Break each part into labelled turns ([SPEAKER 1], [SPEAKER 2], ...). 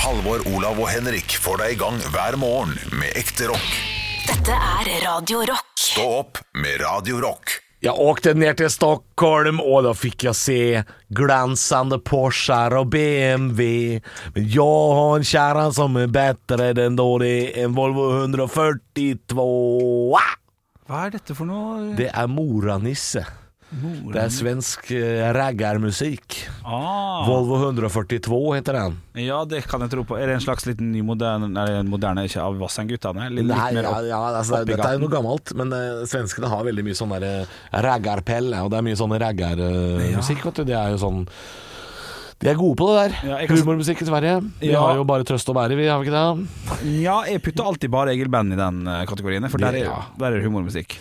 [SPEAKER 1] Halvor, Olav og Henrik får deg i gang hver morgen med ekte rock.
[SPEAKER 2] Dette er Radio Rock.
[SPEAKER 1] Stå opp med Radio Rock.
[SPEAKER 3] Jag åkte ner till Stockholm och då fick jag se glänsande Porschar och BMW. Men jag har en kärran som är bättre än då det är en Volvo 142.
[SPEAKER 4] Hva er dette for noe?
[SPEAKER 3] Det är Moranisse. Det är svensk eh, raggarmusik.
[SPEAKER 4] Ah,
[SPEAKER 3] Volvo 142 heter den.
[SPEAKER 4] ja, det kan jeg tro på. Er det en slags liten ny moderne, nei, moderne ikke av Vassendgutane? Litt,
[SPEAKER 3] Nei,
[SPEAKER 4] litt mer
[SPEAKER 3] ja,
[SPEAKER 4] opp,
[SPEAKER 3] ja, altså,
[SPEAKER 4] opp i
[SPEAKER 3] dette er jo
[SPEAKER 4] gaten.
[SPEAKER 3] noe gammelt, men eh, svenskene har veldig mye sånn der, eh, raggarpelle, og det er mye sånn raggarmusikk, vet du. De er jo sånn De er gode på det der.
[SPEAKER 4] Ja, jeg kan-
[SPEAKER 3] Humormusikk i Sverige. Vi
[SPEAKER 4] Ja.
[SPEAKER 3] har jo bare trøst og bære, vi, har vi ikke det?
[SPEAKER 4] ja, jeg putter alltid bare Egil Band i den eh, kategorien, for der er,
[SPEAKER 3] Ja.
[SPEAKER 4] der er det humormusikk.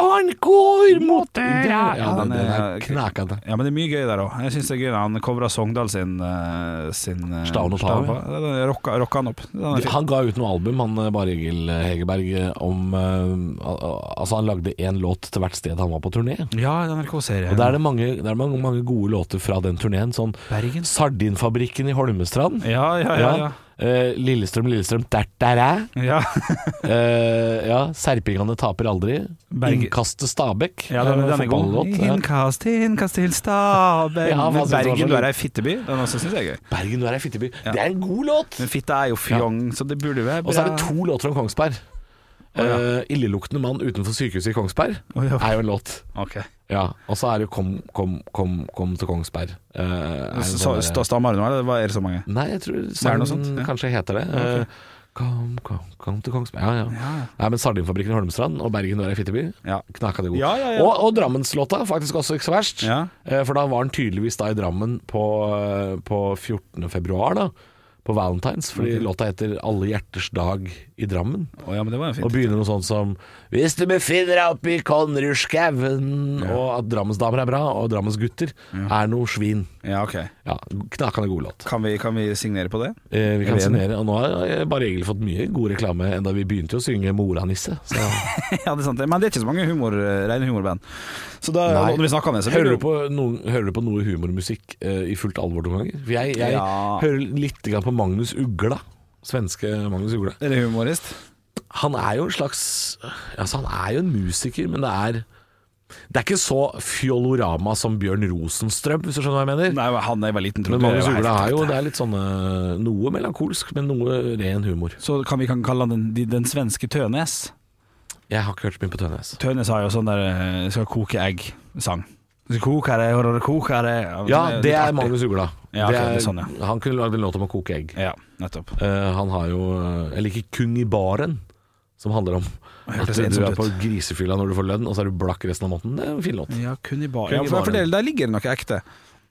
[SPEAKER 3] Arnkor mot Ja, ja
[SPEAKER 4] den
[SPEAKER 3] den, den
[SPEAKER 4] er-
[SPEAKER 3] er knakende.
[SPEAKER 4] Ja, men det er mye gøy der òg. Jeg syns det er gøy når han covra Sogndal sin, eh, sin eh,
[SPEAKER 3] Stavn og
[SPEAKER 4] Stavn
[SPEAKER 3] Tave.
[SPEAKER 4] og- Den Rocka, rocka han opp. Den er fin.
[SPEAKER 3] Han ga ut noe album, han eh, Bare Egil Hegerberg, eh, om eh, al- al- Altså, han lagde én låt til hvert sted han var på turné.
[SPEAKER 4] Ja, NRK-serie.
[SPEAKER 3] Og der er det mange, der er mange, mange gode låter fra den turneen. Sånn
[SPEAKER 4] Bergen.
[SPEAKER 3] Sardinfabrikken i Holmestrand.
[SPEAKER 4] Ja, ja, ja. ja.
[SPEAKER 3] Eh, Lillestrøm, Lillestrøm, der der er
[SPEAKER 4] Ja,
[SPEAKER 3] Eh, Ja, Serpingene taper aldri.
[SPEAKER 4] Berge-
[SPEAKER 3] Innkastet Stabæk.
[SPEAKER 4] ja den,
[SPEAKER 3] er en
[SPEAKER 4] den er god.
[SPEAKER 3] fotballåt, ja.
[SPEAKER 4] Innkast, innkast til Stabæk.
[SPEAKER 3] Ja,
[SPEAKER 4] Men
[SPEAKER 3] hva synes du var så
[SPEAKER 4] Bergen, du
[SPEAKER 3] god?
[SPEAKER 4] er ei fitteby. Den også syns jeg er gøy.
[SPEAKER 3] Bergen, du er ei fitteby.
[SPEAKER 4] Ja.
[SPEAKER 3] Det er en god låt!
[SPEAKER 4] Men fitte er jo fjong, så det burde jo være bra.
[SPEAKER 3] Og så er det to låter om Kongsberg.
[SPEAKER 4] Å, ja.
[SPEAKER 3] Eh, 'Illeluktende mann utenfor sykehuset i Kongsberg'
[SPEAKER 4] Å, ja.
[SPEAKER 3] er jo en låt.
[SPEAKER 4] Ok.
[SPEAKER 3] Ja, Og så er det jo 'Kom, kom, kom, kom til Kongsberg'. Eh, er en
[SPEAKER 4] Så,
[SPEAKER 3] sånn
[SPEAKER 4] så,
[SPEAKER 3] der-
[SPEAKER 4] sta- stammer du nå, eller hva er det så mange?
[SPEAKER 3] Nei, jeg tror
[SPEAKER 4] er
[SPEAKER 3] sangen
[SPEAKER 4] noe sånt, ja.
[SPEAKER 3] kanskje heter det. Eh, Kom, kom, kom til Kongsberg. Ja, ja. Nei, men Sardinfabrikken i Holmestrand og Bergen, du er ei fitteby.
[SPEAKER 4] Ja.
[SPEAKER 3] Knakende god.
[SPEAKER 4] Ja, ja, ja.
[SPEAKER 3] Og, og Drammenslåta, faktisk også ikke så verst.
[SPEAKER 4] Ja.
[SPEAKER 3] Eh, For da var den tydeligvis da i Drammen på, eh, på 14. februar, da. På Valentines, fordi låta heter 'Alle hjerters dag i Drammen'.
[SPEAKER 4] Å ja, men det var jo
[SPEAKER 3] Og
[SPEAKER 4] fint.
[SPEAKER 3] begynner noe sånt som 'Hvis du befinner deg oppi Konrudskauen' Og at Drammensdamer er bra, og Drammens gutter er noe svin.
[SPEAKER 4] Ja, ok.
[SPEAKER 3] Ja, Knakende god låt.
[SPEAKER 4] Kan vi, kan vi signere på det?
[SPEAKER 3] Eh, vi
[SPEAKER 4] Er
[SPEAKER 3] kan
[SPEAKER 4] vi enige?
[SPEAKER 3] signere. Og nå har eh, Bare Egil fått mye god reklame enda vi begynte å synge 'Moranisse'. Så
[SPEAKER 4] ja, det er sant. det. Men det er ikke så mange humor, eh, rene humorband. Så da
[SPEAKER 3] Nei.
[SPEAKER 4] når vi snakker om det, så
[SPEAKER 3] Hører
[SPEAKER 4] blir
[SPEAKER 3] du
[SPEAKER 4] det jo
[SPEAKER 3] på noen, hører du på noe humormusikk eh, i fullt alvor noen ganger? For jeg, jeg
[SPEAKER 4] Ja.
[SPEAKER 3] hører litt grann på Magnus Ugla. Svenske Magnus Ugla.
[SPEAKER 4] Er det humorist?
[SPEAKER 3] Han er jo en slags Altså, han er jo en musiker, men det er Det er ikke så fjolorama som Bjørn Rosenstrøm, hvis du skjønner hva jeg mener.
[SPEAKER 4] Nei, han er vel liten, tror
[SPEAKER 3] Men
[SPEAKER 4] jeg.
[SPEAKER 3] Magnus
[SPEAKER 4] Det er
[SPEAKER 3] Ugla
[SPEAKER 4] helt
[SPEAKER 3] er jo
[SPEAKER 4] rett.
[SPEAKER 3] Det er litt sånn eh, noe melankolsk, men noe ren humor.
[SPEAKER 4] Så kan vi kan kalle han den, de- den svenske Tønes.
[SPEAKER 3] Jeg har ikke hørt så mye på Tønnes.
[SPEAKER 4] Tønes har jo sånn der eh, 'skal koke egg'-sang. Skal koke det, og det koker det
[SPEAKER 3] Ja,
[SPEAKER 4] jo
[SPEAKER 3] det
[SPEAKER 4] litt
[SPEAKER 3] er
[SPEAKER 4] artig.
[SPEAKER 3] Magnus Ugla. Det
[SPEAKER 4] Ja, ok, det
[SPEAKER 3] er,
[SPEAKER 4] er sånn,
[SPEAKER 3] han kunne lagd en låt om å koke egg.
[SPEAKER 4] Ja, nettopp.
[SPEAKER 3] Eh, han har jo eh, Jeg liker Kung i baren, som handler om at
[SPEAKER 4] Hørtes
[SPEAKER 3] du
[SPEAKER 4] ensomt
[SPEAKER 3] er
[SPEAKER 4] ut.
[SPEAKER 3] på grisefylla når du får lønn, og så er du blakk resten av måneden. Det er en fin låt.
[SPEAKER 4] Ja, kun i bar.
[SPEAKER 3] Kun
[SPEAKER 4] Ja,
[SPEAKER 3] i
[SPEAKER 4] for, for
[SPEAKER 3] baren.
[SPEAKER 4] det, der ligger det noe ekte.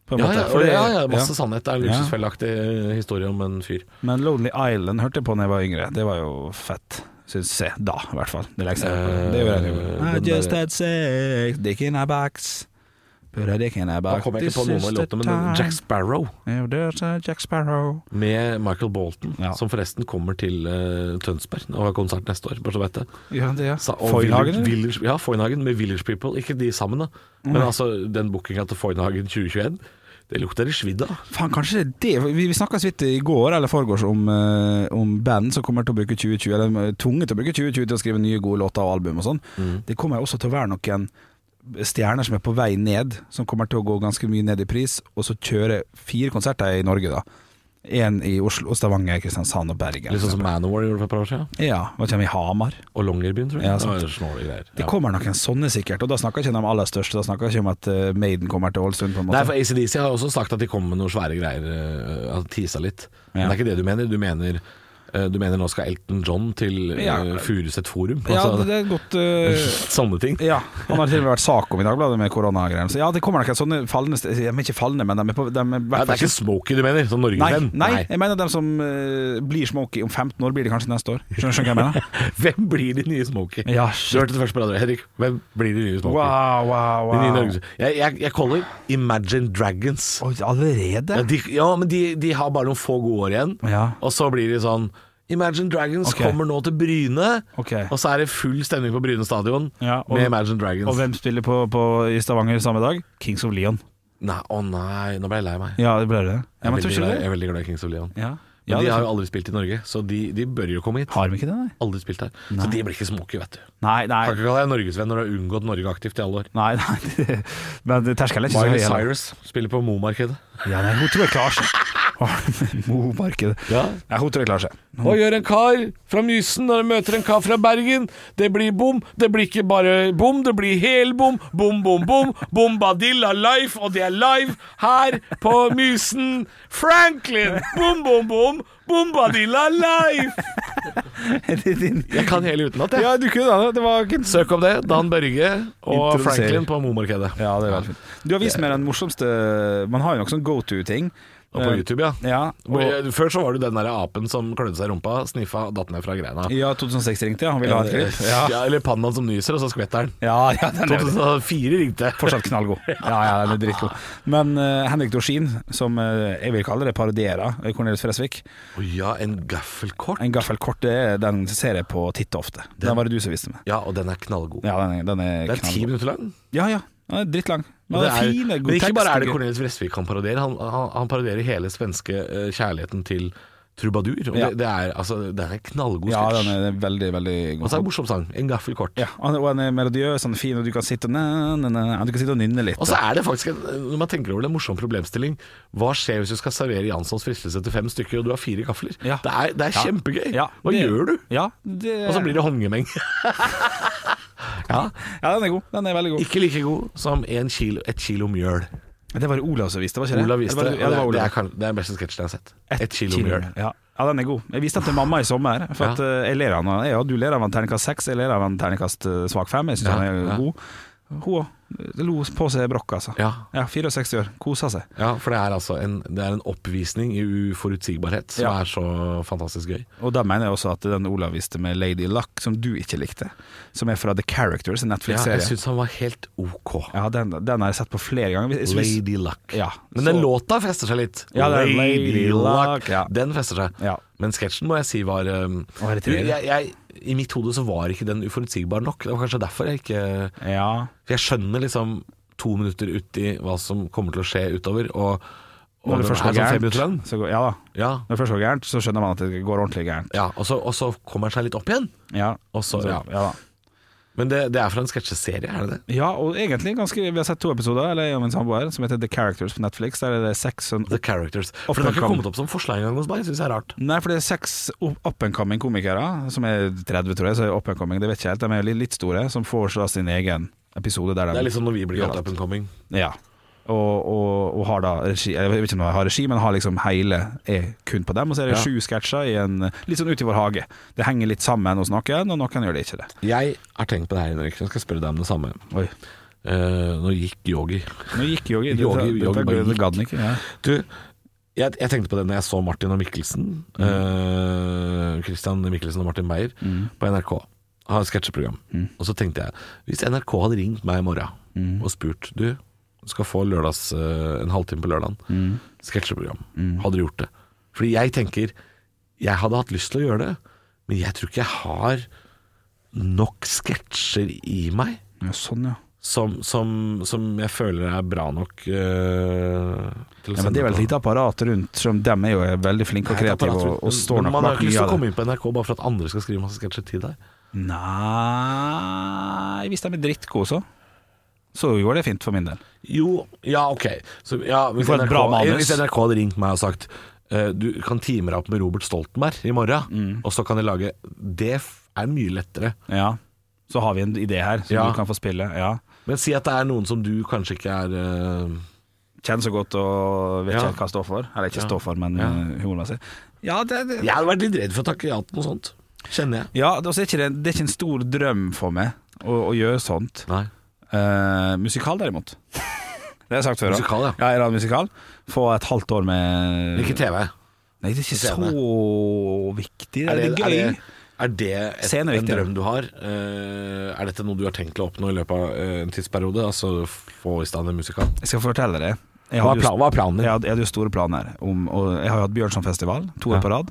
[SPEAKER 4] På en
[SPEAKER 3] Ja,
[SPEAKER 4] måte.
[SPEAKER 3] ja,
[SPEAKER 4] For det-
[SPEAKER 3] ja, ja,
[SPEAKER 4] ja.
[SPEAKER 3] masse sannhet. Det er en
[SPEAKER 4] Ja.
[SPEAKER 3] luksusfelleaktig eh, historie om en fyr.
[SPEAKER 4] Men Lonely Island hørte jeg på da jeg var yngre. Det var jo fett, syns jeg. Da, i hvert fall. Det legger seg på. Det er jo
[SPEAKER 3] Eh,
[SPEAKER 4] det jeg gjorde.
[SPEAKER 3] den
[SPEAKER 4] I just
[SPEAKER 3] der-
[SPEAKER 4] had sex, dick in a box. Put a dick in a box.
[SPEAKER 3] Da kom jeg ikke på
[SPEAKER 4] This
[SPEAKER 3] noen av
[SPEAKER 4] is the
[SPEAKER 3] låtene, men
[SPEAKER 4] time.
[SPEAKER 3] Jack Sparrow
[SPEAKER 4] Yeah, there's a Jack Sparrow.
[SPEAKER 3] med Michael Bolton,
[SPEAKER 4] Ja.
[SPEAKER 3] som forresten kommer til eh, Tønsberg og har konsert neste år, bare så du vet det.
[SPEAKER 4] Ja, det, ja.
[SPEAKER 3] Sa- og
[SPEAKER 4] Foynhagen,
[SPEAKER 3] Village-
[SPEAKER 4] eller?
[SPEAKER 3] Village- Ja, Foynhagen med Village People. Ikke de sammen, da. Men altså, den bookinga til Foynhagen 2021, det lukter i svidd av.
[SPEAKER 4] Faen, kanskje det er det Vi, vi snakka så vidt i går eller foregårs om, eh, om band som kommer til å bruke 2020, eller eh, tvunget til å bruke 2020 til å skrive nye gode låter og album og sånn.
[SPEAKER 3] Mm.
[SPEAKER 4] Det kommer også til å være noen stjerner som er på vei ned, som kommer til å gå ganske mye ned i pris, og så kjøre fire konserter i Norge, da. Én i Oslo, Stavanger, Kristiansand og Bergen.
[SPEAKER 3] Litt sånn som Manowar gjorde for et par år siden.
[SPEAKER 4] Ja, hva kommer i Hamar?
[SPEAKER 3] Og Longyearbyen, tror jeg.
[SPEAKER 4] Ja, sant.
[SPEAKER 3] Det var snåle greier.
[SPEAKER 4] Det
[SPEAKER 3] Ja.
[SPEAKER 4] kommer noen sånne sikkert, og da snakker jeg ikke om de aller største, da snakker jeg ikke om at eh, Maiden kommer til Ålesund, på en
[SPEAKER 3] Nei,
[SPEAKER 4] måte.
[SPEAKER 3] for ACDC har også sagt at de kommer med noen svære greier. øh, Har tisa litt. Men det er ikke det du mener. Du mener, øh, du mener nå skal Elton John til øh,
[SPEAKER 4] Ja.
[SPEAKER 3] Furuset Forum?
[SPEAKER 4] ja,
[SPEAKER 3] Altså,
[SPEAKER 4] det, det er et godt eh,
[SPEAKER 3] Sånne ting.
[SPEAKER 4] Ja, han har til og med vært sak om i Dagbladet med koronagreiene. Så ja, det kommer nok et sånne fallende st- De er ikke fallende, men de er på de er i hvert
[SPEAKER 3] Nei, det
[SPEAKER 4] fall
[SPEAKER 3] er ikke Smokey du mener, som
[SPEAKER 4] Nei,
[SPEAKER 3] Norge-venn?
[SPEAKER 4] nei, jeg mener dem som eh, blir smoky om 15 år, blir de kanskje neste år. Skjønner skjønner du hva jeg mener?
[SPEAKER 3] Hvem blir de nye Smokey?
[SPEAKER 4] Ja,
[SPEAKER 3] du hørte det først på radio, Henrik. Hvem blir de nye Smokey?
[SPEAKER 4] Wow, wow,
[SPEAKER 3] De nye
[SPEAKER 4] wow.
[SPEAKER 3] Norges- jeg, jeg, jeg caller Imagine Dragons.
[SPEAKER 4] Oi, allerede?
[SPEAKER 3] Ja, de, ja men de, de har bare noen få gode år igjen.
[SPEAKER 4] Ja.
[SPEAKER 3] Og så blir de sånn Imagine Dragons
[SPEAKER 4] Ok.
[SPEAKER 3] kommer nå til Bryne,
[SPEAKER 4] Ok.
[SPEAKER 3] og så er det full stemning på Bryne stadion
[SPEAKER 4] Ja, og-
[SPEAKER 3] med Imagine Dragons.
[SPEAKER 4] Og hvem spiller på, på, i Stavanger samme dag? Kings of Leon.
[SPEAKER 3] Nei, å nei, nå ble jeg lei meg.
[SPEAKER 4] Ja, det ble det. Ja,
[SPEAKER 3] Jeg er
[SPEAKER 4] men
[SPEAKER 3] veldig
[SPEAKER 4] tror ikke
[SPEAKER 3] glad-
[SPEAKER 4] du
[SPEAKER 3] Jeg
[SPEAKER 4] det?
[SPEAKER 3] er veldig glad i Kings of Leon.
[SPEAKER 4] Ja.
[SPEAKER 3] Men
[SPEAKER 4] Ja,
[SPEAKER 3] de
[SPEAKER 4] det-
[SPEAKER 3] har jo aldri spilt i Norge, så de, de bør jo komme hit.
[SPEAKER 4] Har de ikke det, nei?
[SPEAKER 3] Aldri spilt her. Så de blir ikke smoky, vet du.
[SPEAKER 4] Nei, nei.
[SPEAKER 3] Kan ikke kalle deg norgesvenn når du har unngått Norge aktivt i alle år.
[SPEAKER 4] nei, nei. Men terskelen er ikke så høy.
[SPEAKER 3] Miley
[SPEAKER 4] heller.
[SPEAKER 3] Cyrus spiller på Mo-markedet.
[SPEAKER 4] Ja, nei, hun tror jeg klarer seg. Mo-markedet.
[SPEAKER 3] Ja.
[SPEAKER 4] Nei, hun tror jeg klarer seg.
[SPEAKER 3] Hva gjør en kar fra Mysen når han møter en kar fra Bergen? Det blir bom. Det blir ikke bare bom, det blir helbom. Bom, bom, bom. Bombadilla life, og det er live her på Mysen. Franklin! Bom, bom, bom. Bombadilla life! Jeg kan hele utenat, jeg.
[SPEAKER 4] Ja, du kunne det. Det var ikke
[SPEAKER 3] Søk om det. Dan Børge og
[SPEAKER 4] Introduserer.
[SPEAKER 3] Franklin på Mo-markedet.
[SPEAKER 4] Ja, det er veldig fint. Du har vist meg den morsomste Man har jo noen sånn go to-ting.
[SPEAKER 3] Og på YouTube, ja.
[SPEAKER 4] Ja,
[SPEAKER 3] Hvor-
[SPEAKER 4] og,
[SPEAKER 3] Før så var det den der apen som klødde seg i rumpa, sniffa, datt ned fra greina.
[SPEAKER 4] ja 2006 ringte, ja. Han ville ha et klipp. Ja,
[SPEAKER 3] Ja, eller pandaen som nyser, og så skvetter den.
[SPEAKER 4] ja, ja den er
[SPEAKER 3] 2004 ringte.
[SPEAKER 4] fortsatt knallgod. Ja, ja, den er dritgod. Men eh, Henrik Dorsin, som eh, jeg vil kalle det parodierer eh, Cornelius Fresvik
[SPEAKER 3] Å ja, en gaffelkort.
[SPEAKER 4] En gaffelkort, det er den ser jeg på titt og ofte. Den var det du som viste meg.
[SPEAKER 3] Ja, og den er knallgod.
[SPEAKER 4] Ja, den er, den er,
[SPEAKER 3] Det er ti
[SPEAKER 4] knallgod.
[SPEAKER 3] minutter lang.
[SPEAKER 4] Ja, ja. Den er drittlang. Men
[SPEAKER 3] Og
[SPEAKER 4] det
[SPEAKER 3] det
[SPEAKER 4] er
[SPEAKER 3] er-
[SPEAKER 4] fine, god
[SPEAKER 3] men ikke
[SPEAKER 4] tekst,
[SPEAKER 3] bare er det
[SPEAKER 4] tenker jeg.
[SPEAKER 3] Cornelius Vresvik han parodierer, han, han, han parodierer hele svenske eh, kjærligheten til trubadur. Og
[SPEAKER 4] Ja.
[SPEAKER 3] det, det, er, altså, det er en knallgod
[SPEAKER 4] Ja,
[SPEAKER 3] sketsj.
[SPEAKER 4] den er veldig, veldig
[SPEAKER 3] og så
[SPEAKER 4] god.
[SPEAKER 3] er det en morsom sang. En gaffelkort.
[SPEAKER 4] Ja, og og den er melodiøs og fin, og du kan sitte og, na, na, na, du kan sitte og nynne litt.
[SPEAKER 3] Og så er det faktisk, en- når man tenker over det, en morsom problemstilling. Hva skjer hvis du skal servere Janssons fristelse til fem stykker, og du har fire gafler?
[SPEAKER 4] Ja.
[SPEAKER 3] Det er, det er
[SPEAKER 4] Ja.
[SPEAKER 3] kjempegøy.
[SPEAKER 4] Ja,
[SPEAKER 3] Hva
[SPEAKER 4] det-
[SPEAKER 3] gjør du?
[SPEAKER 4] Ja, det,
[SPEAKER 3] Og så blir det håndgemeng. ja.
[SPEAKER 4] ja, den er god. Den er veldig god.
[SPEAKER 3] Ikke like god som en kilo, et kilo mjøl.
[SPEAKER 4] Det var det Olav som viste, var ikke det?
[SPEAKER 3] Olav viste
[SPEAKER 4] Eller
[SPEAKER 3] det.
[SPEAKER 4] var
[SPEAKER 3] og
[SPEAKER 4] det. Ja, det, var
[SPEAKER 3] Det,
[SPEAKER 4] Olav.
[SPEAKER 3] er, kan- det er den beste sketsjen jeg har sett. Et, kilo, mjøl.
[SPEAKER 4] Ja. ja, den er god. Jeg viste den til mamma i sommer. For at eh, jeg ler av den. Ja, du ler av en terningkast seks, jeg ler av en terningkast eh, svak fem. Jeg syns
[SPEAKER 3] Ja,
[SPEAKER 4] den er
[SPEAKER 3] ja.
[SPEAKER 4] god. Hun òg. Lo på seg brokk, altså.
[SPEAKER 3] Ja.
[SPEAKER 4] 64 år. Kosa seg.
[SPEAKER 3] Ja, for det er altså en, det er en oppvisning i uforutsigbarhet som
[SPEAKER 4] Ja.
[SPEAKER 3] er så fantastisk gøy.
[SPEAKER 4] Og da mener jeg også at den Olav viste med Lady Luck, som du ikke likte, som er fra The Characters, en
[SPEAKER 3] Ja, jeg
[SPEAKER 4] Netflix-serie.
[SPEAKER 3] syns han var helt ok.
[SPEAKER 4] Ja, den, den har jeg sett på flere ganger. Jeg synes-
[SPEAKER 3] Lady Luck.
[SPEAKER 4] Ja,
[SPEAKER 3] Men
[SPEAKER 4] så-
[SPEAKER 3] den låta fester seg litt.
[SPEAKER 4] Ja, det er Lady Luck, ja.
[SPEAKER 3] Den fester seg.
[SPEAKER 4] Ja.
[SPEAKER 3] Men sketsjen må jeg si var um,
[SPEAKER 4] Var det
[SPEAKER 3] jeg,
[SPEAKER 4] trivelig?
[SPEAKER 3] jeg, I mitt hode så var ikke den uforutsigbar nok. Det var kanskje derfor jeg ikke
[SPEAKER 4] Ja.
[SPEAKER 3] For jeg skjønner liksom to minutter uti hva som kommer til å skje utover, og, og
[SPEAKER 4] Når det
[SPEAKER 3] den
[SPEAKER 4] først går
[SPEAKER 3] er sånn fem
[SPEAKER 4] gærent,
[SPEAKER 3] minutter lang.
[SPEAKER 4] så går, ja da.
[SPEAKER 3] Ja.
[SPEAKER 4] Når det først går gærent, så skjønner man at det går ordentlig gærent.
[SPEAKER 3] ja og, så, og så kommer den seg litt opp igjen.
[SPEAKER 4] Ja,
[SPEAKER 3] Og så,
[SPEAKER 4] Så-
[SPEAKER 3] ja.
[SPEAKER 4] ja da.
[SPEAKER 3] Men det, det er fra en sketsjeserie, er det det?
[SPEAKER 4] Ja, og egentlig ganske Vi har sett to episoder Eller jeg og min samboer som heter The Characters på Netflix. Der er det seks sånn
[SPEAKER 3] The Characters. For den har ikke
[SPEAKER 4] Oppmerksom.
[SPEAKER 3] kommet opp som forslag engang hos meg, syns jeg er rart.
[SPEAKER 4] Nei, for det er seks up- up and coming komikere, som er 30, tror jeg, så er up and coming, det vet jeg ikke helt. De er litt, litt store, som får så sin egen episode der de
[SPEAKER 3] Det er liksom når vi blir
[SPEAKER 4] gjør
[SPEAKER 3] godt up
[SPEAKER 4] alt.
[SPEAKER 3] and coming.
[SPEAKER 4] Ja. Og, og, og har da regi Jeg vet ikke om de har regi, men har liksom hele er kun på dem. Og så er det
[SPEAKER 3] Ja.
[SPEAKER 4] sju sketsjer i en litt sånn ut i vår hage. Det henger litt sammen hos noen, og noen gjør det ikke det.
[SPEAKER 3] Jeg har tenkt på det her, Henrik, så jeg skal spørre deg om det samme.
[SPEAKER 4] Oi.
[SPEAKER 3] Eh, nå gikk yogi.
[SPEAKER 4] Nå gikk
[SPEAKER 3] Yogi-
[SPEAKER 4] Yogi. Dette-
[SPEAKER 3] Yogi
[SPEAKER 4] dette-
[SPEAKER 3] bare
[SPEAKER 4] Det
[SPEAKER 3] gikk.
[SPEAKER 4] gadd han ikke. Ja.
[SPEAKER 3] Du, jeg, jeg tenkte på det når jeg så Martin og Mikkelsen.
[SPEAKER 4] Mm.
[SPEAKER 3] eh, Christian Mikkelsen og Martin Beyer
[SPEAKER 4] Mm.
[SPEAKER 3] på NRK. Har et sketsjeprogram. Og så tenkte jeg Hvis NRK hadde ringt meg i morgen
[SPEAKER 4] Mm.
[SPEAKER 3] og spurt Du, du skal få lørdags, eh, en halvtime på lørdagen.
[SPEAKER 4] Mm.
[SPEAKER 3] Sketsjeprogram. Hadde du gjort det? Fordi jeg tenker Jeg hadde hatt lyst til å gjøre det, men jeg tror ikke jeg har nok sketsjer i meg
[SPEAKER 4] ja, sånn, ja.
[SPEAKER 3] som, som, som jeg føler er bra nok eh, til å
[SPEAKER 4] ja men det er vel et
[SPEAKER 3] på.
[SPEAKER 4] lite apparat rundt, som dem er jo veldig flinke og
[SPEAKER 3] Det er et
[SPEAKER 4] kreative
[SPEAKER 3] apparat,
[SPEAKER 4] og, og står
[SPEAKER 3] men
[SPEAKER 4] nok
[SPEAKER 3] Man har
[SPEAKER 4] bak
[SPEAKER 3] ikke lyst
[SPEAKER 4] mye
[SPEAKER 3] til å
[SPEAKER 4] av
[SPEAKER 3] komme
[SPEAKER 4] det.
[SPEAKER 3] inn på NRK bare for at andre skal skrive masse sketsjer til deg.
[SPEAKER 4] Nei Hvis de er drittgode, så. Så går det fint for min del.
[SPEAKER 3] Jo, ja, ok. Så, ja, hvis,
[SPEAKER 4] får et
[SPEAKER 3] NRK,
[SPEAKER 4] bra manus.
[SPEAKER 3] hvis NRK hadde ringt meg og sagt eh, du kan teame deg opp med Robert Stoltenberg i morgen, og så kan jeg lage Det f- er mye lettere.
[SPEAKER 4] Ja. Så har vi en idé her som
[SPEAKER 3] Ja.
[SPEAKER 4] du kan få spille. Ja.
[SPEAKER 3] Men si at det er noen som du kanskje ikke er eh,
[SPEAKER 4] Kjenn så godt og vet
[SPEAKER 3] Ja.
[SPEAKER 4] ikke helt hva står for. Eller ikke
[SPEAKER 3] Ja.
[SPEAKER 4] står for, men
[SPEAKER 3] Ja.
[SPEAKER 4] eh, humormessig. Ja, det, det.
[SPEAKER 3] Jeg hadde vært litt redd for å takke ja til noe sånt. Kjenner jeg.
[SPEAKER 4] Ja, altså, det, er også ikke, det- det er ikke en stor drøm for meg å, å gjøre sånt.
[SPEAKER 3] Nei.
[SPEAKER 4] Eh, musikal, derimot. Det har jeg sagt før. også.
[SPEAKER 3] Musikal, ja.
[SPEAKER 4] ja. En eller annen musikal. Få et halvt år med
[SPEAKER 3] Ikke TV.
[SPEAKER 4] Nei, det er ikke
[SPEAKER 3] Scene.
[SPEAKER 4] så viktig. Det er, det, gøy.
[SPEAKER 3] Er det, er det et,
[SPEAKER 4] Scene er
[SPEAKER 3] en
[SPEAKER 4] viktig, ja.
[SPEAKER 3] drøm du har? Eh, er dette noe du har tenkt til å oppnå i løpet av eh, en tidsperiode? Altså få i stand en musikal?
[SPEAKER 4] Jeg skal fortelle deg. Jeg
[SPEAKER 3] Hva er,
[SPEAKER 4] hadde jo-
[SPEAKER 3] plan, hva er planen din?
[SPEAKER 4] Jeg hadde, jeg hadde jo store planer om og Jeg har jo hatt Bjørnsonfestival to år
[SPEAKER 3] Ja.
[SPEAKER 4] på rad.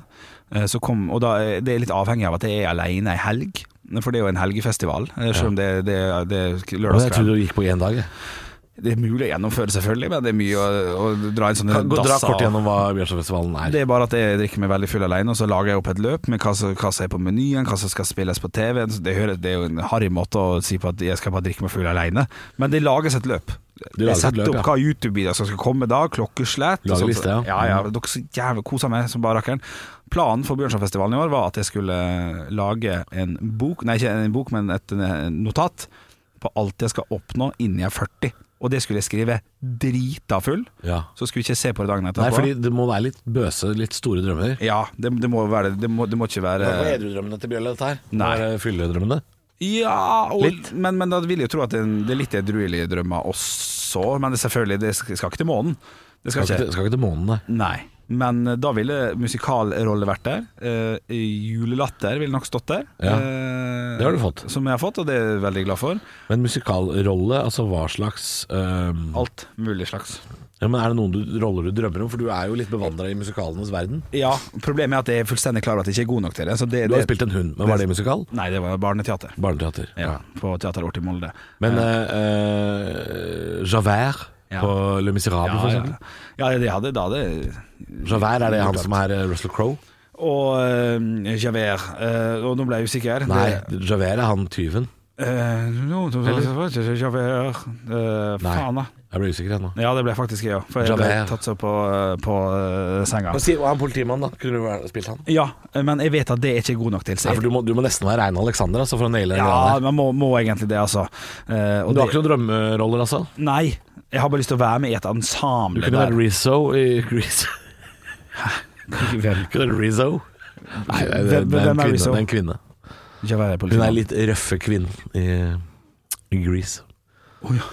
[SPEAKER 4] Eh, Så kom, og da, er- det er litt avhengig av at jeg er alene ei helg, for det er jo en helgefestival. eh, Selv om det, det, det er
[SPEAKER 3] Å, jeg
[SPEAKER 4] lørdagskveld.
[SPEAKER 3] trodde du gikk på én dag. jeg.
[SPEAKER 4] Det er mulig å gjennomføre, selvfølgelig, men det er mye å, å dra sånn inn sånne
[SPEAKER 3] Kan, gå, dra
[SPEAKER 4] dasser
[SPEAKER 3] kort
[SPEAKER 4] av.
[SPEAKER 3] gjennom hva Bjørnsonfestivalen er.
[SPEAKER 4] Det er bare at jeg drikker meg veldig full alene, og så lager jeg opp et løp med hva som, hva som er på menyen, hva som skal spilles på TV. Det, hører, det er jo en harry måte å si på at jeg skal bare drikke meg full alene, men det lages et løp.
[SPEAKER 3] Det lages
[SPEAKER 4] Jeg
[SPEAKER 3] et
[SPEAKER 4] setter
[SPEAKER 3] løp,
[SPEAKER 4] opp
[SPEAKER 3] ja.
[SPEAKER 4] hva YouTube-videoer som skal komme da, klokkeslett. og
[SPEAKER 3] Lager
[SPEAKER 4] sånt.
[SPEAKER 3] liste, ja. Mm.
[SPEAKER 4] ja. ja dere så jævlig kosa meg som bare rakkeren. Planen for Bjørnsonfestivalen i år var at jeg skulle eh, lage en bok, nei ikke en bok, men et eh, notat på alt jeg skal oppnå innen jeg er 40. Og det skulle jeg skrive drita full,
[SPEAKER 3] Ja.
[SPEAKER 4] så skulle jeg ikke se på det dagen etterpå.
[SPEAKER 3] Nei, fordi det må være litt bøse, litt store drømmer.
[SPEAKER 4] Ja, det, det må være det. Må, det må ikke være
[SPEAKER 3] edrudrømmene til Bjørle, dette her?
[SPEAKER 4] Nei.
[SPEAKER 3] Det er Fylledrømmene?
[SPEAKER 4] Ja, og, Men, men da vil jeg jo tro at det er, en- det er litt edruelige drømmer også. Men det, selvfølgelig, det skal ikke til månen. Det
[SPEAKER 3] Skal
[SPEAKER 4] skal
[SPEAKER 3] ikke,
[SPEAKER 4] ikke.
[SPEAKER 3] skal ikke til månen, nei.
[SPEAKER 4] Nei. Men eh, da ville musikalrolle vært der. Eh, julelatter ville nok stått der.
[SPEAKER 3] Ja,
[SPEAKER 4] Eh,
[SPEAKER 3] det har du fått.
[SPEAKER 4] Som jeg har fått, og det er jeg veldig glad for.
[SPEAKER 3] Men musikalrolle, altså hva slags ehm,
[SPEAKER 4] Alt mulig slags.
[SPEAKER 3] ja, men Er det noen du, roller du drømmer om? For du er jo litt bevandra i musikalenes verden.
[SPEAKER 4] Ja, problemet er at jeg er fullstendig klar over at jeg ikke er god nok til det. Så det,
[SPEAKER 3] Du har
[SPEAKER 4] det
[SPEAKER 3] jo spilt en hund, men var det musikal?
[SPEAKER 4] Nei, det var barneteater.
[SPEAKER 3] Barneteater.
[SPEAKER 4] Ja, på Teater Vårt i Molde.
[SPEAKER 3] Men eh, eh, Javert
[SPEAKER 4] Ja.
[SPEAKER 3] på Le Miserable, for
[SPEAKER 4] ja,
[SPEAKER 3] eksempel.
[SPEAKER 4] ja, det hadde, da hadde
[SPEAKER 3] Javert, er det han som er eh, Russell Crowe?
[SPEAKER 4] og eh, Javert. Eh, og nå ble jeg usikker.
[SPEAKER 3] Nei,
[SPEAKER 4] Det,
[SPEAKER 3] Javert er han tyven.
[SPEAKER 4] eh, no, no, Javert Eh,
[SPEAKER 3] Nei.
[SPEAKER 4] Faen, da.
[SPEAKER 3] Jeg ble usikker ennå.
[SPEAKER 4] Ja, det ble faktisk jeg òg, for jeg ble
[SPEAKER 3] Javert.
[SPEAKER 4] tatt så på, på eh, senga.
[SPEAKER 3] Han politimannen, da. Kunne du spilt han?
[SPEAKER 4] Ja, eh, men jeg vet at det er ikke god nok til.
[SPEAKER 3] Nei,
[SPEAKER 4] Så
[SPEAKER 3] for
[SPEAKER 4] jeg,
[SPEAKER 3] du må, du må nesten være Reine Alexander altså, for å naile den
[SPEAKER 4] ja,
[SPEAKER 3] greia der.
[SPEAKER 4] man må, må egentlig det, altså. Eh, og
[SPEAKER 3] Du har
[SPEAKER 4] det,
[SPEAKER 3] ikke noen drømmeroller, altså?
[SPEAKER 4] nei, jeg har bare lyst til å være med i et
[SPEAKER 3] Du
[SPEAKER 4] ensemble.
[SPEAKER 3] kunne
[SPEAKER 4] der.
[SPEAKER 3] vært Rizzo i Grease.
[SPEAKER 4] Hvem-
[SPEAKER 3] Kunne vært Rizzo? Nei, det, det,
[SPEAKER 4] Hvem-
[SPEAKER 3] det, er en
[SPEAKER 4] hvem er
[SPEAKER 3] kvinne,
[SPEAKER 4] Rizzo?
[SPEAKER 3] det er en kvinne.
[SPEAKER 4] Javert er
[SPEAKER 3] Hun er
[SPEAKER 4] politimann.
[SPEAKER 3] litt røffe kvinnen i, i Grease.
[SPEAKER 4] Å, ja.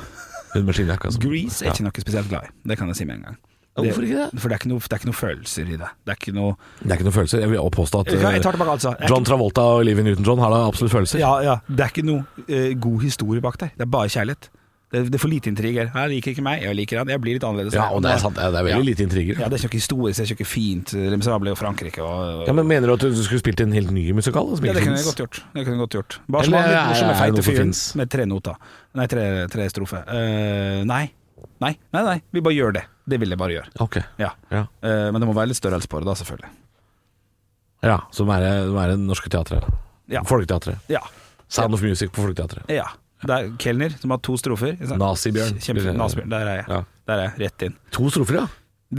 [SPEAKER 3] Hun med skinnjakke, altså.
[SPEAKER 4] Grease er ikke noe spesielt glad i, det kan jeg si med en gang.
[SPEAKER 3] Ja, hvorfor ikke
[SPEAKER 4] For det er ikke noe, det er ikke noe følelser i det. Det er ikke noe
[SPEAKER 3] Det er ikke noen følelser. Jeg vil også påstå at
[SPEAKER 4] Jeg tar
[SPEAKER 3] eh,
[SPEAKER 4] tilbake, altså. Jeg er
[SPEAKER 3] John Travolta og Olivia Newton-John har da absolutt følelser.
[SPEAKER 4] Ja, ja. Det er ikke noe eh, god historie bak der. Det er bare kjærlighet. Det, det er for lite intriger. Han liker ikke meg, jeg liker han. Jeg blir litt annerledes.
[SPEAKER 3] Ja, og det er sant. Det er veldig
[SPEAKER 4] Ja.
[SPEAKER 3] lite intriger.
[SPEAKER 4] Ja, det er ikke noe historisk, det er ikke noe fint. Le Miserable og Frankrike og
[SPEAKER 3] Ja, men Mener du at du skulle spilt en helt ny musikal? som
[SPEAKER 4] ja,
[SPEAKER 3] ikke
[SPEAKER 4] det kunne jeg
[SPEAKER 3] finnes?
[SPEAKER 4] godt gjort. Det kunne jeg godt gjort. Bare
[SPEAKER 3] Eller
[SPEAKER 4] som han litt
[SPEAKER 3] er-
[SPEAKER 4] morsomme,
[SPEAKER 3] er det noe
[SPEAKER 4] feite
[SPEAKER 3] som
[SPEAKER 4] fyren
[SPEAKER 3] finnes?
[SPEAKER 4] med tre noter. Nei, tre, tre strofer. Eh, nei. nei. Nei, nei. Vi bare gjør det. Det vil jeg bare gjøre.
[SPEAKER 3] Ok.
[SPEAKER 4] Ja.
[SPEAKER 3] Ja.
[SPEAKER 4] Eh, men det må være litt størrelse på det, da, selvfølgelig.
[SPEAKER 3] ja som er, som er det norske teatret.
[SPEAKER 4] Ja.
[SPEAKER 3] Folketeatret.
[SPEAKER 4] Ja.
[SPEAKER 3] Sound of Music på Folketeatret.
[SPEAKER 4] ja. Det er Kelner, som har to strofer. ikke sant?
[SPEAKER 3] Nazibjørn.
[SPEAKER 4] Kjempe, Nasbjørn. Der er jeg.
[SPEAKER 3] Ja.
[SPEAKER 4] Der er jeg. Rett inn.
[SPEAKER 3] To strofer, ja?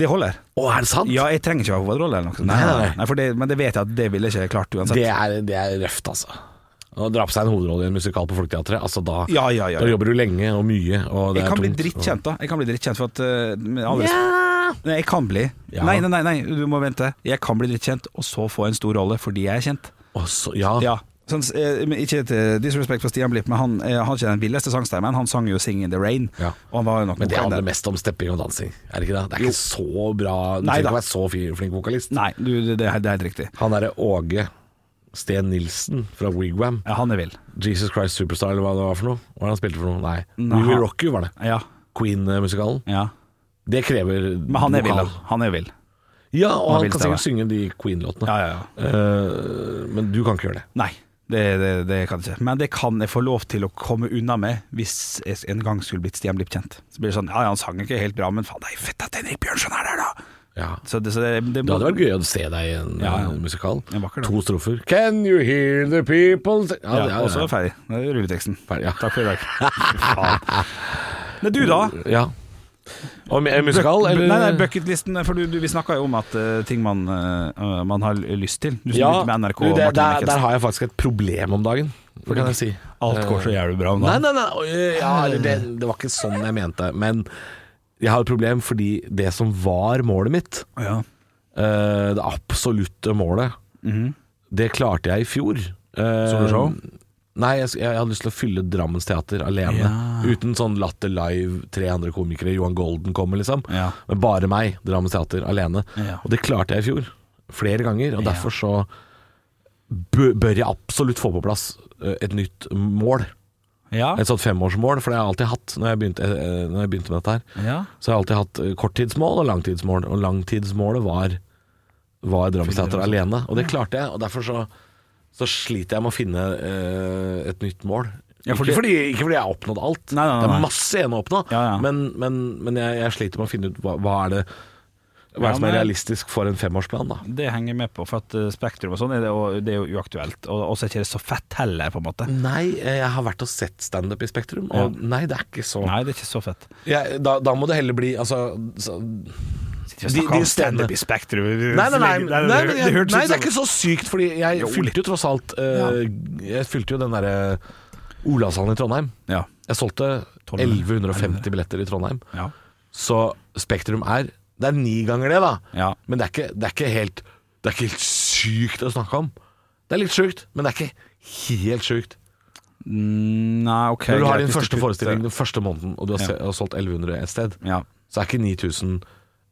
[SPEAKER 4] Det holder.
[SPEAKER 3] Å, er det sant?
[SPEAKER 4] Ja, jeg trenger ikke å ha hovedrolle eller noe. sånt.
[SPEAKER 3] Nei, nei, nei.
[SPEAKER 4] for det, men det vet jeg at det ville jeg ikke klart uansett.
[SPEAKER 3] Det er, det er røft, altså. Å dra på seg en hovedrolle i en musikal på Folketeatret, altså da,
[SPEAKER 4] Ja, ja, ja.
[SPEAKER 3] da jobber du lenge og mye, og det
[SPEAKER 4] jeg kan
[SPEAKER 3] er
[SPEAKER 4] bli
[SPEAKER 3] tungt.
[SPEAKER 4] drittkjent, da. Jeg kan bli drittkjent for at eh, med all respekt-
[SPEAKER 3] Ja.
[SPEAKER 4] Nei, jeg kan bli.
[SPEAKER 3] Ja.
[SPEAKER 4] Nei, nei, nei, nei, du må vente. Jeg kan bli drittkjent, og så få en stor rolle fordi jeg er kjent.
[SPEAKER 3] Og så, ja.
[SPEAKER 4] Ja. Sånn, eh, men ikke et eh, disrespect for Stian Blipp, men han eh, har ikke den villeste sangstemmen. Han sang jo 'Sing in the Rain',
[SPEAKER 3] Ja.
[SPEAKER 4] og han var jo nok
[SPEAKER 3] Men det
[SPEAKER 4] vokal der.
[SPEAKER 3] handler mest om stepping og dansing, er det ikke det? Det er ikke så bra Du
[SPEAKER 4] Nei
[SPEAKER 3] trenger
[SPEAKER 4] da.
[SPEAKER 3] ikke være så fi- flink vokalist.
[SPEAKER 4] Nei, du, det, det er det er helt riktig.
[SPEAKER 3] Han derre Åge Sten Nilsen fra Wigwam,
[SPEAKER 4] Ja, han er vill.
[SPEAKER 3] Jesus Christ Superstar eller hva det var for noe? Hva er det han spilte for noe? Nei.
[SPEAKER 4] Nei.
[SPEAKER 3] We Will Rock You var det.
[SPEAKER 4] Ja.
[SPEAKER 3] Queen-musikalen.
[SPEAKER 4] ja.
[SPEAKER 3] Det krever
[SPEAKER 4] Men han er vill,
[SPEAKER 3] vokal.
[SPEAKER 4] han. Han er vill.
[SPEAKER 3] Ja, og han,
[SPEAKER 4] vil
[SPEAKER 3] kan
[SPEAKER 4] stemme.
[SPEAKER 3] sikkert synge de Queen-låtene.
[SPEAKER 4] Ja, ja, ja.
[SPEAKER 3] Eh, men du kan ikke gjøre det.
[SPEAKER 4] Nei, det, det, det kan jeg ikke. Men det kan jeg få lov til å komme unna med hvis jeg en gang skulle blitt Stian Blipp kjent. Så blir det sånn Ja, ja, han sang ikke helt bra, men faen, det er fett at Henrik Bjørnson er der, da!
[SPEAKER 3] Ja.
[SPEAKER 4] Så det, så det, det,
[SPEAKER 3] Det hadde vært gøy å se deg i en
[SPEAKER 4] Ja, ja.
[SPEAKER 3] en musikal.
[SPEAKER 4] En vakker dag.
[SPEAKER 3] to strofer. Can you hear the people say-
[SPEAKER 4] Ja,
[SPEAKER 3] det er-
[SPEAKER 4] og så er det ferdig. Det er rulleteksten.
[SPEAKER 3] Ferdig, ja.
[SPEAKER 4] Takk for i dag. Fy faen. Nei, du da?
[SPEAKER 3] ja. Og med- en musikal,
[SPEAKER 4] Buck-
[SPEAKER 3] eller?
[SPEAKER 4] Nei, nei, bucketlisten. For du, du, vi snakka jo om at eh, ting man, eh, man har lyst til. Du som
[SPEAKER 3] ja,
[SPEAKER 4] begynte med NRK
[SPEAKER 3] du,
[SPEAKER 4] og
[SPEAKER 3] det,
[SPEAKER 4] Martin
[SPEAKER 3] der, der
[SPEAKER 4] Mikkelsen.
[SPEAKER 3] har jeg faktisk et problem om dagen. Det kan jeg si.
[SPEAKER 4] Alt går så jævlig bra om
[SPEAKER 3] Nei,
[SPEAKER 4] dagen.
[SPEAKER 3] nei, nei. øh, Ja, eller det, det var ikke sånn jeg mente. Men jeg har et problem fordi det som var målet mitt,
[SPEAKER 4] Ja.
[SPEAKER 3] øh, det absolutte målet,
[SPEAKER 4] mhm.
[SPEAKER 3] det klarte jeg i fjor. Eh,
[SPEAKER 4] Så du show?
[SPEAKER 3] Nei, jeg, sk- jeg hadde lyst til å fylle Drammens teater alene. Uten sånn Latter Live, tre andre komikere, Johan Golden kommer, liksom.
[SPEAKER 4] Ja.
[SPEAKER 3] Men bare meg, Drammens teater, alene.
[SPEAKER 4] Ja.
[SPEAKER 3] Og det klarte jeg i fjor. Flere ganger. Og derfor så bø- bør jeg absolutt få på plass eh, et nytt mål.
[SPEAKER 4] Ja.
[SPEAKER 3] Et sånt femårsmål, for det har jeg alltid hatt når jeg begynte, eh, når jeg begynte med dette her.
[SPEAKER 4] ja.
[SPEAKER 3] Så jeg har alltid hatt eh, korttidsmål og langtidsmål, og langtidsmålet var, var Drammens teater alene. Og det klarte jeg, og derfor så, så sliter jeg med å finne eh, et nytt mål.
[SPEAKER 4] Ja, fordi-
[SPEAKER 3] ikke, fordi, ikke fordi jeg har oppnådd alt.
[SPEAKER 4] Nei, nei, nei,
[SPEAKER 3] Det
[SPEAKER 4] nei.
[SPEAKER 3] er masse igjen å oppnå,
[SPEAKER 4] Ja, ja.
[SPEAKER 3] men, men, men jeg, jeg sliter med å finne ut hva, hva er det hva er
[SPEAKER 4] Ja,
[SPEAKER 3] det som er
[SPEAKER 4] men-
[SPEAKER 3] realistisk for en femårsplan, da.
[SPEAKER 4] Det henger jeg med på, for at eh, Spektrum og sånn er det, jo- det er jo uaktuelt. Og og så er ikke det så fett heller, på en måte.
[SPEAKER 3] Nei, eh, jeg har vært og sett standup i Spektrum, og nei, det er ikke så
[SPEAKER 4] Nei, det er ikke så fett.
[SPEAKER 3] jeg, da, da må det heller bli Altså så, De-
[SPEAKER 4] Sitter vi og snakker
[SPEAKER 3] de
[SPEAKER 4] om standup
[SPEAKER 3] stedene-
[SPEAKER 4] i Spektrum
[SPEAKER 3] Nei, nei, nei, nei, nei,
[SPEAKER 4] det-
[SPEAKER 3] jeg-
[SPEAKER 4] det hørtes
[SPEAKER 3] nei, det er
[SPEAKER 4] ut som-
[SPEAKER 3] ikke så sykt, fordi jeg
[SPEAKER 4] Jo, litt.
[SPEAKER 3] fylte jo tross alt eh, Jeg fylte jo den derre Olavshallen i Trondheim.
[SPEAKER 4] Ja.
[SPEAKER 3] Jeg solgte 1150 billetter i Trondheim.
[SPEAKER 4] Ja.
[SPEAKER 3] Så Spektrum er Det er ni ganger det, da.
[SPEAKER 4] Ja.
[SPEAKER 3] Men det er, ikke, det, er ikke helt, det er ikke helt sykt å snakke om. Det er litt sjukt, men det er ikke helt sjukt.
[SPEAKER 4] Mm, Nei, ok
[SPEAKER 3] Når du har din
[SPEAKER 4] greit, hvis du
[SPEAKER 3] første
[SPEAKER 4] putter-
[SPEAKER 3] forestilling den første måneden, og du har,
[SPEAKER 4] Ja.
[SPEAKER 3] se- har solgt 1100 et sted,
[SPEAKER 4] Ja.
[SPEAKER 3] så er ikke 9000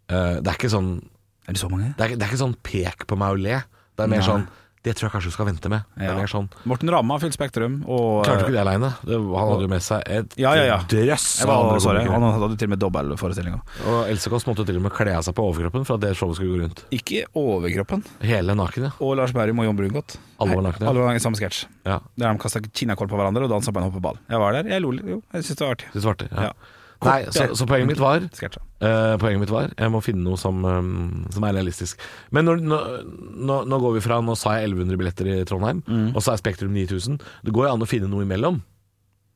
[SPEAKER 3] eh, Det er ikke sånn
[SPEAKER 4] Er det så mange?
[SPEAKER 3] det er, ikke- det er ikke sånn pek på meg og le. Det er mer
[SPEAKER 4] Nei.
[SPEAKER 3] sånn Det tror jeg kanskje du skal vente med. Det er
[SPEAKER 4] Ja.
[SPEAKER 3] mer sånn
[SPEAKER 4] Morten Ramm har fylt Spektrum, og
[SPEAKER 3] Klarte ikke det aleine. Han hadde jo med seg et
[SPEAKER 4] Ja, ja, ja.
[SPEAKER 3] drøss
[SPEAKER 4] Jeg
[SPEAKER 3] av andre
[SPEAKER 4] var, sorry,
[SPEAKER 3] komikere.
[SPEAKER 4] han hadde til og med dobbeltforestillinga.
[SPEAKER 3] Og Else Kåss måtte til og med kle av seg på overkroppen for at det showet skulle gå rundt.
[SPEAKER 4] Ikke overkroppen.
[SPEAKER 3] Hele naken, ja.
[SPEAKER 4] Og Lars Berrum og Jon Brungot.
[SPEAKER 3] Alle var nakne.
[SPEAKER 4] Alle var i samme sketsj.
[SPEAKER 3] ja.
[SPEAKER 4] Der de kasta kinakål på hverandre og dansa på en hoppeball. Jeg var der, jeg lo litt. Jo, jeg syntes det var artig.
[SPEAKER 3] De svarte. Ja.
[SPEAKER 4] Ja.
[SPEAKER 3] Nei, så, så poenget mitt var
[SPEAKER 4] Sketsja.
[SPEAKER 3] eh, Poenget mitt var Jeg må finne noe som, eh, som er realistisk. Men når, nå, nå, nå går vi fra Nå sa jeg 1100 billetter i Trondheim,
[SPEAKER 4] Mm.
[SPEAKER 3] og så er Spektrum 9000. Det går jo an å finne noe imellom.